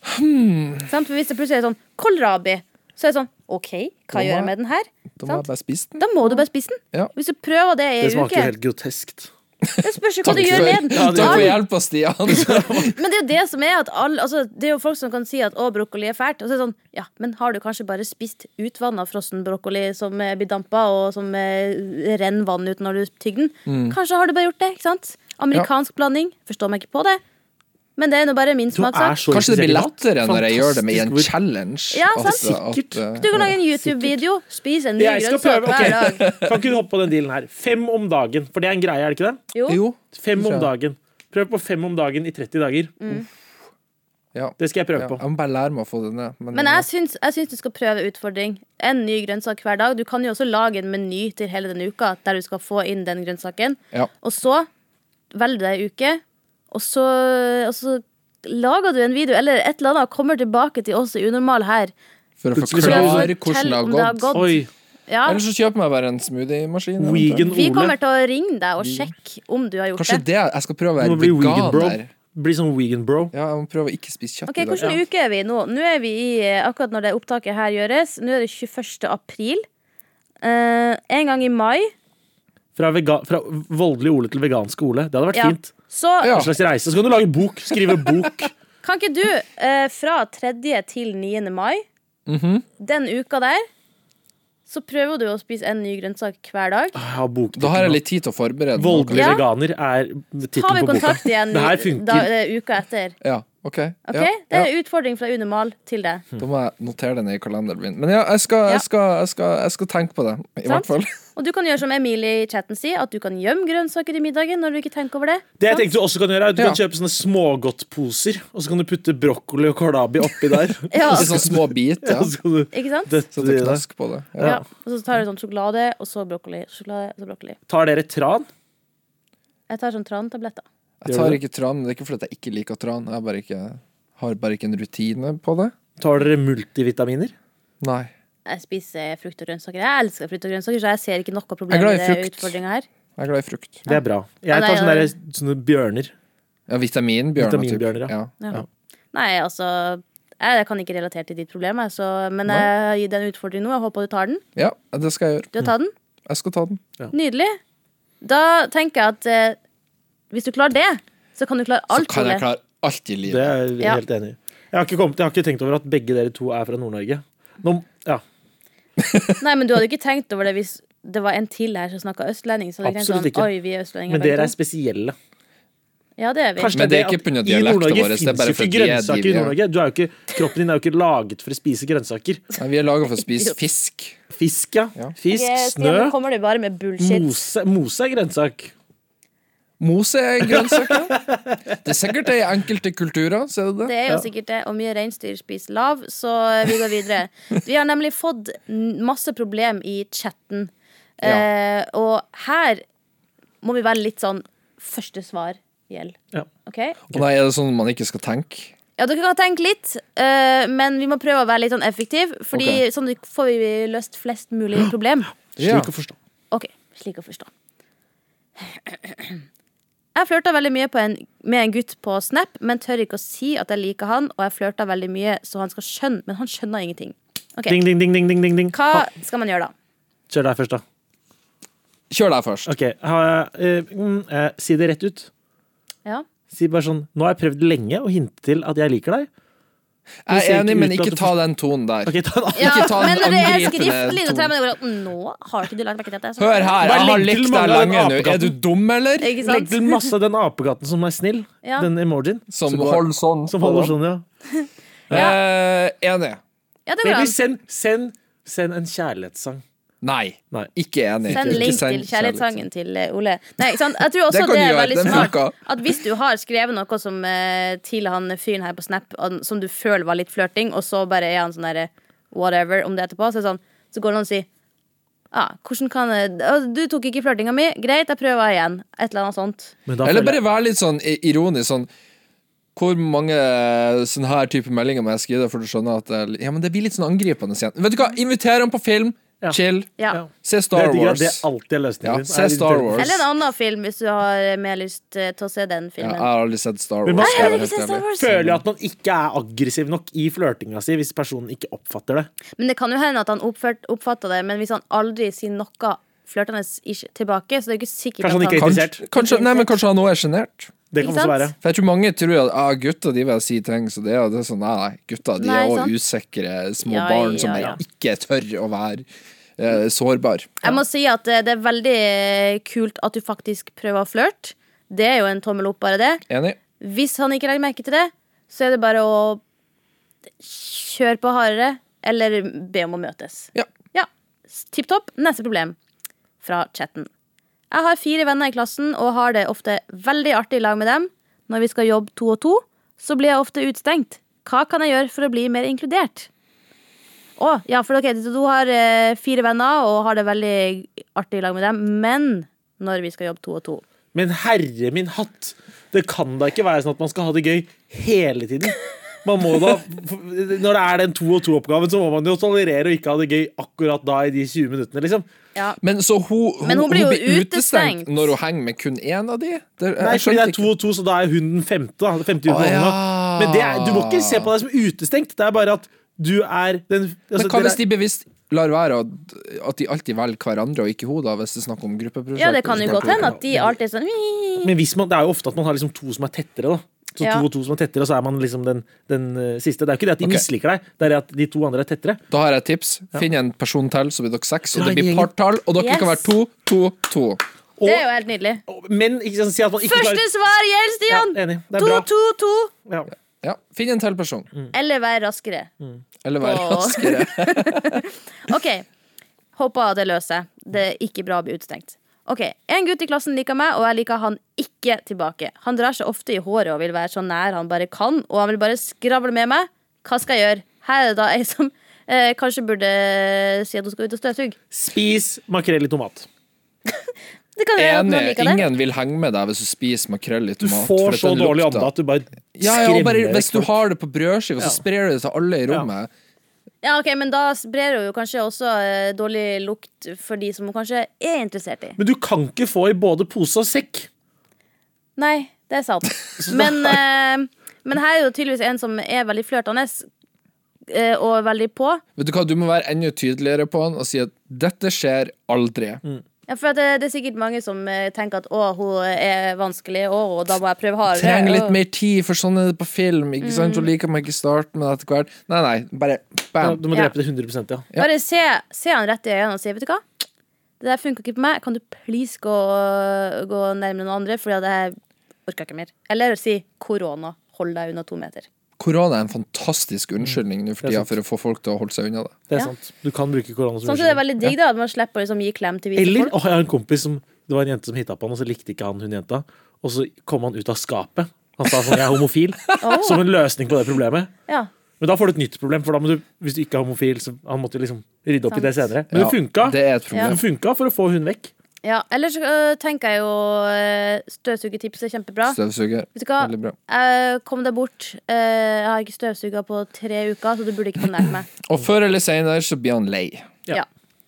C: Sant? For hvis det plutselig er sånn kålrabi, så er det sånn OK, hva
D: Da må
C: gjør
D: jeg-
C: jeg med den her?
D: Da må
C: Sant?
D: jeg bare spise den.
C: Da må du bare spise den.
D: Ja.
C: Hvis du prøver det i
B: Det
C: ei
B: smaker
C: uke
B: jo helt groteskt.
C: Det spørs jo hva
D: Takk
C: du gjør med
D: for,
C: den.
B: Ja, det-
D: takk for
C: All-
D: hjelpa, Stian.
C: Men det er jo det som er at alle, altså, Det er jo folk som kan si at å, brokkoli er fælt. Og så er det sånn, ja, men har du kanskje bare spist utvanna frossen brokkoli som eh, blir dampa, og som eh, renner vann ut når du tygger den?
B: Mm.
C: Kanskje har du bare gjort det, ikke sant? Amerikansk blanding. Forstår meg ikke på det. Men det er nå bare min
B: Du er
C: smakssak.
B: så
D: Kanskje det
B: interessert i
D: blir
B: mat.
D: lettere når jeg gjør det med en
B: Fantastisk hvor-
D: challenge.
C: Ja, sant.
D: at-
B: Sikkert.
D: at,
C: Du
D: eh,
C: kan lage en YouTube-video. Spis en ny
B: Jeg skal
C: grønnsak
B: prøve.
C: hver dag.
B: ok. Kan ikke du hoppe på den dealen her? Fem om dagen. For det er en greie, er det ikke det?
C: Jo.
D: Jo.
B: Fem om
D: Ja.
B: dagen. Prøv på fem om dagen i 30 dager.
C: Mm.
D: Ja.
B: Det skal jeg prøve
D: Ja,
B: på.
D: jeg må bare lære meg å få det ned. Men,
C: Men jeg syns, jeg syns du skal prøve utfordring. En ny grønnsak hver dag. Du kan jo også lage en meny til hele denne uka der du skal få inn den grønnsaken.
D: ja.
C: Og så velger du deg ei uke, og så, og så lager du en video eller et eller annet og kommer tilbake til oss i Unormal her.
D: For å
B: Plutselig
C: så fortell
D: forklare hvordan det
C: om det
D: har
C: har
D: gått.
C: gått.
B: Oi.
C: Ja.
D: Eller så kjøper jeg meg bare en smoothiemaskin.
B: Vegan
C: Vi
B: Ole.
C: kommer til å ringe deg og sjekke om du har gjort
D: Kanskje
C: det.
D: det Jeg skal prøve å
B: Du
D: være
B: må bli vegan, bro.
D: veganer.
B: Bli sånn vegan, bro.
D: Ja, jeg må prøve å ikke spise kjøtt
C: Ok,
D: i dag.
C: Hvilken uke er vi i nå? Nå er vi i, eh, Akkurat når det opptaket her gjøres, nå er det 21. april. Eh, en gang i mai.
B: Fra, vega, fra voldelig Ole til vegansk Ole. Det hadde vært
C: Ja.
B: fint.
C: Så
D: Ja.
B: En slags reise. Så kan du lage bok. Skrive bok.
C: kan ikke du, eh, fra 3. til 9. mai,
D: Mhm.
C: den uka der, så prøver du å spise en ny grønnsak hver dag.
B: Jeg har boktittel
D: Da har jeg
B: nå.
D: litt tid til å forberede meg.
B: Voldelig
C: Ja.
B: veganer er
C: Tar
B: tittelen
C: vi
B: på boka.
C: kontakt igjen
B: Det her
C: i-
B: funker.
C: da, eh, uka etter?
D: Ja, ok.
C: Ok?
D: Ja,
C: Det er
D: ja.
C: en utfordring fra Unormal til deg.
D: Da må jeg notere det ned i kalenderen min. Men ja, jeg skal,
C: Ja.
D: jeg skal, jeg skal, jeg skal tenke på det. I
C: Sant?
D: hvert fall.
C: Og du kan gjøre som Emilie i chatten sier, at du kan gjemme grønnsaker i middagen når du ikke tenker over det.
B: Det jeg
C: Sant?
B: tenkte du også kan gjøre, er at du
D: Ja.
B: kan kjøpe sånne smågodtposer, og så kan du putte brokkoli og kålabi oppi der.
C: Ja.
D: Ikke sånne små biter.
B: Og
D: Ja.
B: så kan du
C: Ikke sant?
B: dette
D: Så det
B: i deg.
D: knask på det. Ja.
C: Ja. Og så tar du sånn sjokolade, og så brokkoli. Sjokolade, og så brokkoli.
B: Tar dere tran?
C: Jeg tar sånn trantabletter.
D: Jeg tar ikke tran, men det er ikke fordi jeg ikke liker tran. Jeg bare ikke, har bare ikke en rutine på det.
B: Tar dere multivitaminer?
D: Nei.
C: Jeg spiser frukt og grønnsaker. Jeg elsker frukt og grønnsaker, så jeg ser ikke noe problem
D: Jeg er glad
C: med
D: i
C: det
D: frukt.
C: utfordringa her.
D: Jeg er glad i frukt.
B: Det er bra.
C: Ja,
B: Jeg
C: nei,
B: tar sånne,
C: ja.
B: der, sånne bjørner.
D: Ja, vitaminbjørner. typ.
B: Vitaminbjørner, ja.
D: ja.
C: Nei, altså jeg, jeg kan ikke relatere til ditt problem, jeg, så- men jeg gir deg en utfordring nå. Jeg håper du tar den.
D: ja, det skal jeg gjøre.
C: Du har tatt den.
D: Jeg skal ta den.
C: Nydelig. Da tenker jeg at eh, hvis du klarer det, så kan du klare
D: Så
C: alt.
D: kan jeg
C: Ole.
D: klare alt i
B: Det
D: livet.
B: er jeg
C: Ja.
B: helt enig i. Jeg har, ikke kommet, jeg har ikke tenkt over at begge dere to er fra Nord-Norge. Nå- Ja,
C: Nei, men du hadde jo ikke tenkt over det hvis det var en til her som snakka østlending. Så hadde jeg tenkt
B: Absolutt
C: sånn,
B: ikke.
C: Oi, vi er østlendinger
B: men dere
C: begge
B: er
C: to.
B: spesielle.
C: Ja, det er vi.
D: Men det er
B: at
D: ikke på grunn av
B: i
D: dialekten
B: Nord-Norge
D: vår, det er
B: finnes
D: bare
B: jo ikke
D: fordi jeg er
B: grønnsaker i
D: div, ja.
B: Nord-Norge. Du er jo ikke- Kroppen din er jo ikke laget for å spise grønnsaker.
D: Nei, Vi er laga for å spise fisk.
B: Fisk, ja.
D: Ja.
B: Fisk,
C: Ok,
B: snø.
C: Stian, nå kommer du bare med bullshit.
B: Mose, mose er grønnsak.
D: Mose er grønnsaker. Det er sikkert det i enkelte kulturer, ser du det?
C: Det er
B: Ja.
C: jo sikkert det, og mye reinsdyr spiser lav, så eh, vi går videre. Vi har nemlig fått n- masse problem i chatten, eh, og her må vi være litt sånn første svar gjelder.
B: Ja.
C: Ok?
D: Og nei, er det sånn man ikke skal tenke?
C: Ja, dere kan tenke litt, eh, men vi må prøve å være litt sånn effektiv, fordi
D: Ok.
C: sånn får vi løst flest mulig problem.
D: Ja.
B: Slik å forstå.
C: Ok, slik å forstå. Jeg flørta veldig mye på en, med en gutt på Snap, men tør ikke å si at jeg liker han, og jeg flørta veldig mye, så han skal skjønne, men han skjønner ingenting. Ok,
B: Ding, ding, ding, ding, ding, ding, ding.
C: Hva
B: Ha,
C: skal man gjøre da?
B: kjør deg først, da.
D: Kjør deg først.
B: Ok, ha, eh, mm, eh, Si det rett ut.
C: Ja.
B: Si bare sånn Nå har jeg prøvd lenge å hinte til at jeg liker deg. ser
D: Jeg er
B: ikke
D: enig,
B: ut
D: men
B: til at
D: ikke
B: du
D: ta den tonen der.
B: Ok, ta en annen.
C: Ja,
D: Ikke ta
C: men når
D: den
C: det er
D: angripende
C: skriftlig, så tror jeg
D: tonen.
C: man går sånn Nå har ikke du lagt merke til dette. så-
D: Hør her,
B: Bare
D: jeg har
B: legg til
D: likt
B: mange
D: deg
B: av den
D: lenge nå. Er du
B: apekatten.
D: dum, eller?
C: Ikke
B: Legg
C: sant?
B: til masse den apekatten som er snill.
C: Ja.
B: Den emojien.
D: Som
B: Så går-
D: holder sånn.
B: som holder sånn, ja.
D: Eh, enig.
C: Ja, det går
B: Baby,
C: an.
B: send, send, send en kjærlighetssang.
D: Nei.
B: Nei.
D: Ikke enig.
C: Send
D: Ikke
C: link til kjærlighetssangen til eh, Ole. Nei, ikke sant? Jeg tror også
D: Det
C: det,
D: kan du
C: er
D: gjøre,
C: veldig
D: den
C: smart
D: funka.
C: at hvis du har skrevet noe som eh, til han fyren her på Snap an- som du føler var litt flørting, og så bare er han sånn derre whatever om det etterpå, så, er det sånn, så går han og sier ah, hvordan kan jeg, «Å, Du tok ikke flørtinga mi. Greit, jeg prøver igjen. Et eller annet sånt.
B: Men da
D: Eller
B: føler
D: bare
B: jeg-
D: være litt sånn i- ironisk sånn hvor mange eh, sånne her type meldinger må jeg skrive for du skjønner at det, Ja, men det blir litt sånn angripende igjen. Vet du hva, inviter ham på film.
B: Ja.
D: Chill.
C: Ja.
B: Ja.
D: Se
B: det,
D: Star
B: er digg, ja,
D: Wars.
B: det er alltid løsningen
D: Ja,
B: din.
D: se
B: Er litt
D: Star
B: tørt.
D: Wars.
C: Eller en annen film, hvis du har mer lyst eh, til å se den
D: Ja,
C: filmen.
D: jeg har aldri sett Star Wars.
B: Men man
D: skal
B: skal
D: jeg
C: Ikke
D: være
C: se
D: helt
C: Star
D: ærlig.
C: Wars.
B: Føler jeg at man ikke er aggressiv nok i flørtinga si hvis personen ikke oppfatter det.
C: Men det kan jo hende at han oppført, oppfatta det, men hvis han aldri sier noe flørtende ish- tilbake, så det er jo ikke sikkert
B: Kanskje han ikke
C: at
B: er
C: han
D: Kanskje, kanskje, nei, men kanskje han òg er sjenert.
B: Det kan
C: Ikke
B: også
C: sant?
B: være.
D: For jeg tror mange tror at ah, gutter de vil si ting, så det, er- det er sånn Nei, nei gutter de
C: Nei,
D: er òg
C: sant.
D: usikre små
C: Ja,
D: barn
C: ja,
D: som
C: ja.
D: ikke tør å være eh, sårbar.
C: Jeg må si at eh, det er veldig eh, kult at du faktisk prøver å flørte. Det er jo en tommel opp, bare det.
D: Enig?
C: Hvis han ikke legger merke til det, så er det bare å kjøre på hardere, eller be om å møtes.
D: Ja.
C: Ja, tipp topp. Neste problem fra chatten. Jeg har fire venner i klassen og har det ofte veldig artig i lag med dem. Når vi skal jobbe to og to, så blir jeg ofte utstengt. Hva kan jeg gjøre for å bli mer inkludert? Å, ja, for ok, du har eh, fire venner og har det veldig artig i lag med dem, men når vi skal jobbe to og to.
B: Men herre min hatt! Det kan da ikke være sånn at man skal ha det gøy hele tiden. Man må da, når det er den to og to-oppgaven, så må man jo tolerere å ikke ha det gøy akkurat da i de 20 minuttene, liksom.
C: Ja.
D: Men så hun, hun,
C: Men hun blir jo utestengt.
D: når hun henger med kun én av de? Det,
B: Nei, fordi det er to og to, så da er hun den femte. Da. Den femte
D: Å,
B: uten hånda.
D: ja.
B: Men det er, du må ikke se på deg som utestengt. Det er bare at du er den altså,
D: Men hva
B: dere-
D: hvis de bevisst lar være at, at de alltid velger hverandre og ikke hun, da, hvis det er snakk om gruppeprosjekt?
C: ja, det kan jo
D: Hvis
C: godt
D: man-
C: hende at de alltid er sånn
B: Men hvis man, det er jo ofte at man har liksom to som er tettere, da. Så
C: Ja.
B: to og to som er tettere, og så er man liksom den, den eh, siste. Det er jo ikke det at de
D: Ok.
B: misliker deg, det er at de to andre er tettere.
D: Da har jeg et tips. Finn en person til, så blir dere seks. Og
B: Dra
D: det blir
B: gjengen.
D: partall, og dere kan være
C: Yes.
D: to, to, to.
C: Det er jo helt nydelig.
B: Men ikke sant, si at man ikke
C: Første svar gjelder,
B: Ja,
C: Stian!
B: enig. Det er bra.
C: 2-2-2.
B: Ja.
D: Ja, Finn en til person.
B: Mm.
C: Eller vær raskere.
D: Eller vær
C: Åh.
D: raskere.
C: OK. Håper det løser seg. Det er ikke bra å bli utestengt. Ok, En gutt i klassen liker meg, og jeg liker han ikke tilbake. Han drar seg ofte i håret og vil være så nær han bare kan, og han vil bare skravle med meg. Hva skal jeg gjøre? Her er det da ei som eh, kanskje burde si at hun skal ut og støvsuge.
B: Spis makrell i tomat.
C: Det kan jo være at
D: Enig.
C: noen liker det.
D: Ingen vil henge med deg hvis du spiser makrell i
B: Du
D: tomat. for
B: får
D: at
B: så
D: den
B: dårlig
D: lukta-
B: ånde at du bare
D: ja, ja, og bare,
B: skremmer
D: Hvis du
B: folk.
D: har det på brødskiva, så sprer du det til alle i
B: Ja.
D: rommet.
C: Ja, ok, Men da sprer hun jo kanskje også eh, dårlig lukt for de som hun kanskje er interessert i.
B: Men du kan ikke få i både pose og sekk.
C: Nei, det er sant. Men, eh, men her er jo tydeligvis en som er veldig flørtende eh, og veldig på.
D: Vet Du hva, du må være enda tydeligere på han og si at dette skjer aldri.
C: Ja, for at det, det er sikkert mange som eh, tenker at å, hun er vanskelig, å, da må jeg prøve hardere.
D: Trenger litt
C: å».
D: mer tid, for sånn er det på film.
C: Mm.
D: Ikke sant? Så liker man ikke starten, men etter hvert Nei, nei, bare
B: Ja,
D: bam.
B: Du må
C: Ja.
B: drepe det 100 ja.
D: Ja.
C: Bare se, se han rett i øynene og si, vet du hva? Det der funker ikke på meg. Kan du please gå, gå nærmere noen andre? Fordi at jeg orker ikke mer. Eller si korona. Hold deg unna to meter.
D: Korona er en fantastisk unnskyldning nå for
C: Mm.
B: Det er
D: tida
B: sant.
D: for å få folk til å holde seg unna det.
B: Det er
C: Ja.
B: sant. Du kan bruke korona som
C: Sånn at det er
B: unnskyldning.
C: veldig digg da, at man slipper å liksom, gi klem til hvite
B: Eller
C: folk.
B: å, jeg har en kompis som Det var en jente som hitta på han, og så likte ikke han hun jenta. Og så kom han ut av skapet. Han sa sånn 'jeg er homofil',
C: Åh.
B: som en løsning på det problemet.
C: Ja.
B: Men da får du et nytt problem, for da må du, hvis du ikke er homofil, så han måtte liksom rydde opp i det
C: Sant.
B: senere. Men det
D: Ja,
B: funka.
D: Det er et problem.
B: Det funka for å få hun vekk.
C: Ja, ellers øh, tenker jeg jo øh, støvsugertips er kjempebra.
D: Støvsuger.
C: Vet du hva?
D: Veldig bra.
C: Jeg kom deg bort. Øh, jeg har ikke støvsuga på tre uker, så du burde ikke komme nær meg.
D: Og før eller senere så blir han lei.
B: Ja.
C: Ja.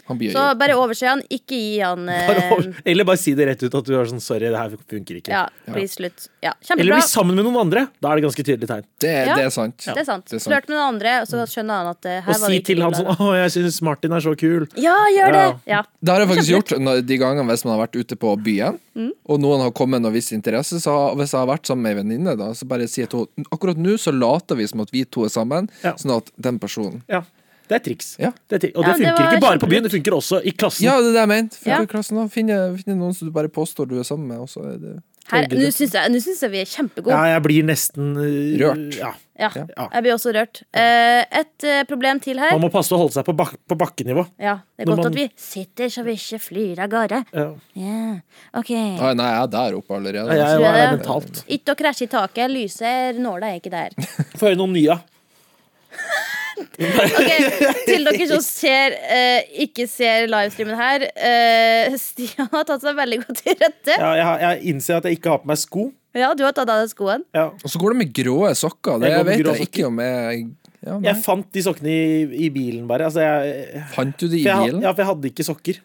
D: Han blir
C: Så
D: jo
C: bare overse han. Ikke gi han øh,
B: Bare over- Eller bare si det rett ut at du er sånn 'sorry, det her funker ikke'.
C: Ja, please, slutt. Ja,
B: Eller
C: kjempebra.
B: bli sammen med noen andre. Da er det ganske tydelig tegn.
D: det,
C: Ja.
D: det er sant.
C: Det er sant.
D: Det er sant. Mm.
C: Flørt med noen andre, og så skjønner han at øh, her
B: Og
C: var det
B: si
C: ikke
B: til han
C: bra.
B: sånn 'Å, jeg syns Martin er så kul'.
C: Ja, gjør det! Ja.
D: Det har jeg faktisk gjort når, de gangene hvis man har vært ute på byen,
B: Mm.
D: og noen har kommet med noe viss interesse. Så har, hvis jeg har vært sammen med ei venninne, da, så bare sier jeg til henne akkurat nå så later vi som at vi to er sammen,
B: Ja.
D: sånn at den personen
B: Ja. Det er triks.
D: Ja.
B: Det er tri og
C: Ja,
B: det
C: det
B: funker
C: var
B: ikke bare på
C: kjempelurt.
B: byen, det funker også i klassen.
D: Ja, det er det jeg mente. Funker
C: Ja.
D: i klassen da. Finne, finne noen som du bare påstår du er sammen med, og så er det
C: Her- Nå syns jeg, nå syns jeg vi er
B: Ja,
C: kjempegode.
B: jeg blir nesten øh,
D: Rørt.
B: Ja.
C: Ja.
B: Ja.
C: Jeg blir også rørt. Eh, et øh, problem til her.
B: Man må passe å holde seg på, bak på bakkenivå.
C: Ja, det er
B: Når
C: godt
B: man-
C: at vi sitter så vi ikke flyr av gårde.
B: Ja.
C: Ja, OK.
D: Nei, nei, jeg er der oppe allerede. altså.
B: Jeg, jeg,
C: Tror jeg
B: er
C: det.
B: mentalt.
C: Ikke å krasje i taket. Lyset, nåla er ikke der.
B: Få høre noen nye.
C: Ok, Til dere som ser, eh, ikke ser livestreamen her. eh, Stian har tatt seg veldig godt til rette.
B: Ja, jeg, har- jeg innser at jeg ikke har på meg sko.
C: Ja, du har tatt av deg skoen.
B: Ja.
D: Og så går det med grå sokker. Det
B: Jeg går med
D: vet
B: grå
D: jeg ikke om jeg ja, nei.
B: Jeg fant de sokkene i, i bilen, bare. Altså, jeg,
D: Fant du det i
B: for jeg,
D: bilen?
B: ja, for jeg hadde ikke sokker.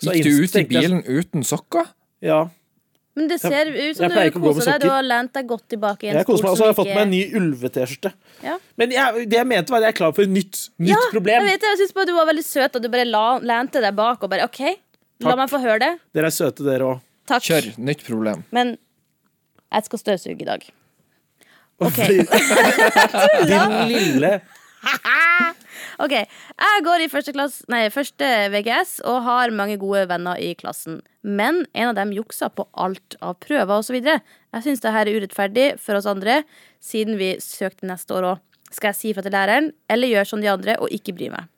B: Så
D: Gikk
B: jeg
D: du
B: inns-
D: ut i
B: tenkte jeg-
D: bilen uten sokker?
B: Ja.
C: Men det ser ut som
B: jeg pleier
C: du
B: ikke å gå med
C: koser deg. Du
B: sokker.
C: har lent deg godt tilbake i en
B: Jeg koser meg, og så
C: som
B: har jeg fått
C: ikke-
B: meg en ny ulve-T-skjorte.
C: Ja.
B: Men jeg, det jeg mente, var at jeg er klar for et nytt, nytt
C: ja,
B: problem.
C: Jeg vet det, jeg syns bare du var veldig søt, og du bare la, lente deg bak og bare OK, la
B: Takk.
C: meg få høre det.
B: Dere er søte, dere òg.
C: Takk.
D: Kjør. Nytt problem.
C: Men jeg skal støvsuge i dag. Ok.
B: Din lille
C: Ok, Jeg går i første, klass, nei, første VGS og har mange gode venner i klassen. Men en av dem jukser på alt av prøver osv. Jeg syns det her er urettferdig for oss andre, siden vi søkte neste år òg. Skal jeg si fra til læreren, eller gjør som de andre og ikke bry meg?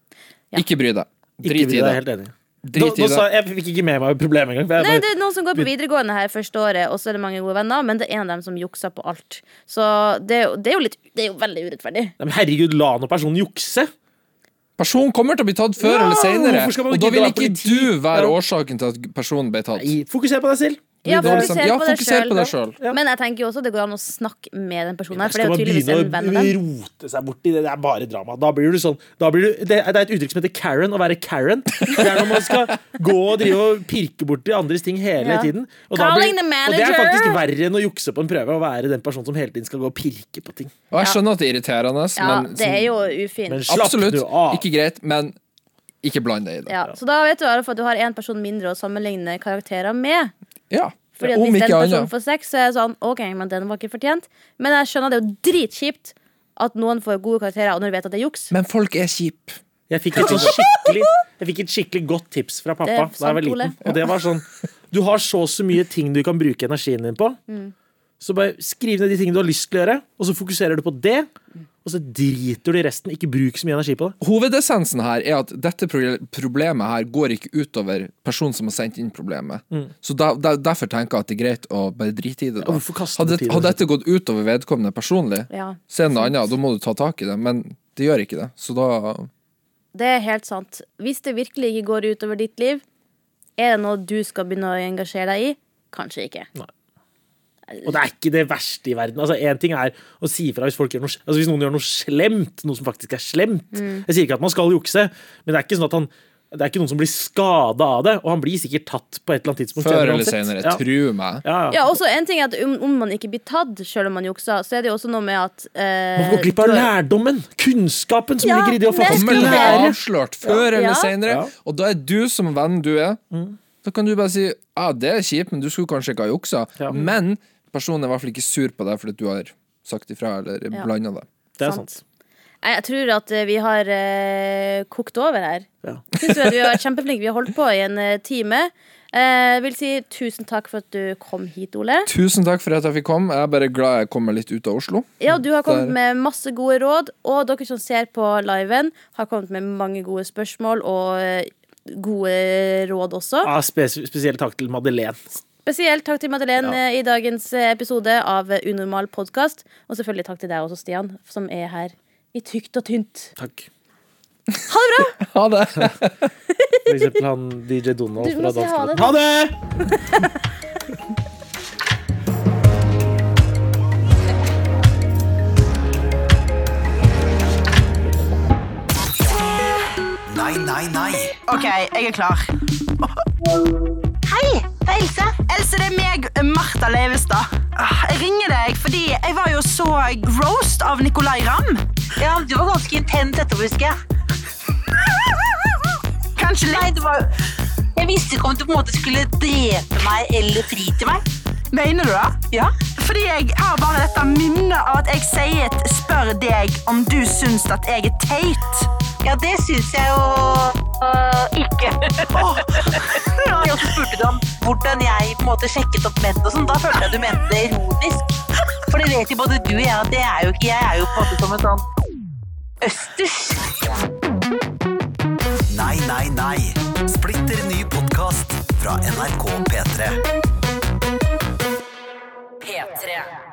C: Ja.
D: Ikke bry deg.
B: Ikke bry
D: Drit i
B: deg, jeg er
D: det.
B: helt enig. Nå, nå
D: Drit i det.
B: sa, jeg jeg fikk ikke med meg problemet engang. for jeg
C: Nei,
B: bare-
C: det er noen som går på videregående her første året, og så er det mange gode venner, men det er en av dem som jukser på alt. Så det er jo, det er jo, litt, det er jo veldig urettferdig.
B: Nei, men herregud, la nå personen jukse!
D: Personen kommer til å bli tatt før
B: Ja,
D: eller senere,
B: hvorfor skal man
D: og
B: ikke
D: da vil
B: dra
D: ikke
B: politi?
D: du være
B: Ja.
D: årsaken til at personen ble tatt.
B: Nei, Fokuser på deg selv.
C: Ja,
D: Det er
C: fokuser på
D: liksom, ja,
C: deg
D: fokuser på deg
C: selv.
D: sjøl.
B: Ja.
C: Men jeg tenker jo også det går an å snakke med den personen her, for det
B: Skal
C: er
B: man
C: jo tydeligvis en venn av
B: begynne
C: dem.
B: å rote seg borti det, det er bare drama. Da blir du sånn da blir du, det, er- det er et uttrykk som heter Karen, å være Karen. Det er når man skal gå og drive og pirke borti andres ting hele
C: Ja.
B: tiden. Og,
C: Calling
B: og det
C: the
B: er
C: manager!
B: faktisk verre enn å jukse på en prøve, å være den personen som hele tiden skal gå og pirke på ting.
D: Og jeg skjønner at det er irriterende,
C: Ja,
D: men sånn,
C: det er jo
B: Men
C: ufint.
B: slapp
D: absolutt
B: du av.
D: ikke greit. Men ikke bland deg i det.
C: Ja, så da vet du i hvert fall at du har én person mindre å sammenligne karakterer med.
D: Ja.
C: Fordi at
D: Om
C: Hvis den
D: ikke
C: personen
D: annet.
C: får sex, så er jeg sånn OK, men den var ikke fortjent. Men jeg skjønner det er jo dritkjipt at noen får gode karakterer, og når du vet at det er juks.
D: Men folk er kjipe.
B: Jeg fikk, et sånn skikkelig, jeg fikk et skikkelig godt tips fra
C: Det
B: pappa da
C: er
B: jeg var
C: sant, Ole.
B: liten. Og det var sånn Du har så og så mye ting du kan bruke energien din på.
C: Mm.
B: Så bare skriv ned de tingene du har lyst til å gjøre, og så fokuserer du på det. Og så driter du i resten. Ikke bruk så mye energi på det.
D: Hovedessensen her er at dette pro- problemet her går ikke utover personen som har sendt inn problemet. Så da, der- derfor tenker jeg at det er greit å bare drite i det. Da.
B: Mm. Ja, hvorfor kaste
D: hadde,
B: bort tiden
D: hadde dette gått utover vedkommende personlig,
C: Ja,
D: så er det noe annet. Da må du ta tak i det. Men det gjør ikke det. Så da
C: Det er helt sant. Hvis det virkelig ikke går utover ditt liv, er det noe du skal begynne å engasjere deg i? Kanskje ikke.
B: Og det er ikke det verste i verden. Altså, en ting er å si ifra hvis, folk gjør noe, altså, hvis noen gjør noe slemt. Noe som faktisk er slemt.
C: Mm.
B: Jeg sier ikke at man skal jukse, men det er ikke sånn at han det er ikke noen som blir skada av det, og han blir sikkert tatt på et eller annet tidspunkt.
D: Før eller
B: uansett.
D: senere.
B: Ja.
D: Tru meg.
B: Ja, ja.
C: Ja, også en ting er at om, om man ikke blir tatt selv om man jukser, så er det jo også noe med at eh,
B: Man går glipp av lærdommen, kunnskapen som
C: Ja,
B: ligger i det å faktisk
D: Kommer til å bli
B: lære.
D: avslørt før
C: Ja.
D: eller senere.
B: Ja.
D: Og da er du som venn du er. Da kan du bare si ja, det er kjipt, men du skulle kanskje ikke ha juksa.
B: Ja.
D: Men personen er i hvert fall ikke sur på deg fordi du har sagt ifra eller
C: Ja.
D: blanda deg.
B: Det er
C: Sant.
B: sant.
C: Nei, Jeg tror at eh, vi har eh, kokt over her.
B: Ja.
C: Synes du at Vi har vært kjempeflinke. Vi har holdt på i en eh, time. Eh, vil si tusen takk for at du kom hit, Ole.
D: Tusen takk for at jeg fikk komme. Jeg er bare glad jeg kommer litt ut av Oslo.
C: Ja, og Du har kommet
D: Der.
C: med masse gode råd, og dere som ser på liven, har kommet med mange gode spørsmål og eh, gode råd også.
B: Ja, Ah, spes spesiell takk til Madeleine.
C: Spesielt takk til Madeleine
B: Ja.
C: eh, i dagens eh, episode av eh, Unormal podkast. Og selvfølgelig takk til deg også, Stian, som er her i tykt og tynt.
B: Takk.
D: Ha det!
B: For eksempel han DJ Donald
C: Du
B: fra
C: må si ha det,
B: Danskeland. Ha det!
E: Nei, nei, nei.
F: Ok, jeg er klar. Hei, det er Else. Else, det er meg, Martha Leivestad. Ah, Jeg ringer deg fordi jeg var jo så roast av Nicolai Ramm. Ja, du var ganske intent etterpå, husker jeg. Kanskje litt. Nei, det var... Jeg visste ikke om du på en måte skulle drepe meg eller fri til meg. Mener du det? Ja. Fordi jeg har bare dette minnet av at jeg sier et spør deg om du syns at jeg er teit. Ja, det syns jeg jo ikke. Og så spurte du om hvordan jeg på en måte sjekket opp menn og sånn. Da følte jeg du mente det ironisk. For det vet jo både du og jeg at det er jo ikke Jeg er jo på en måte som en sånn østers.
E: Nei, nei, nei. Splitter ny podkast fra NRK P3.
F: P3.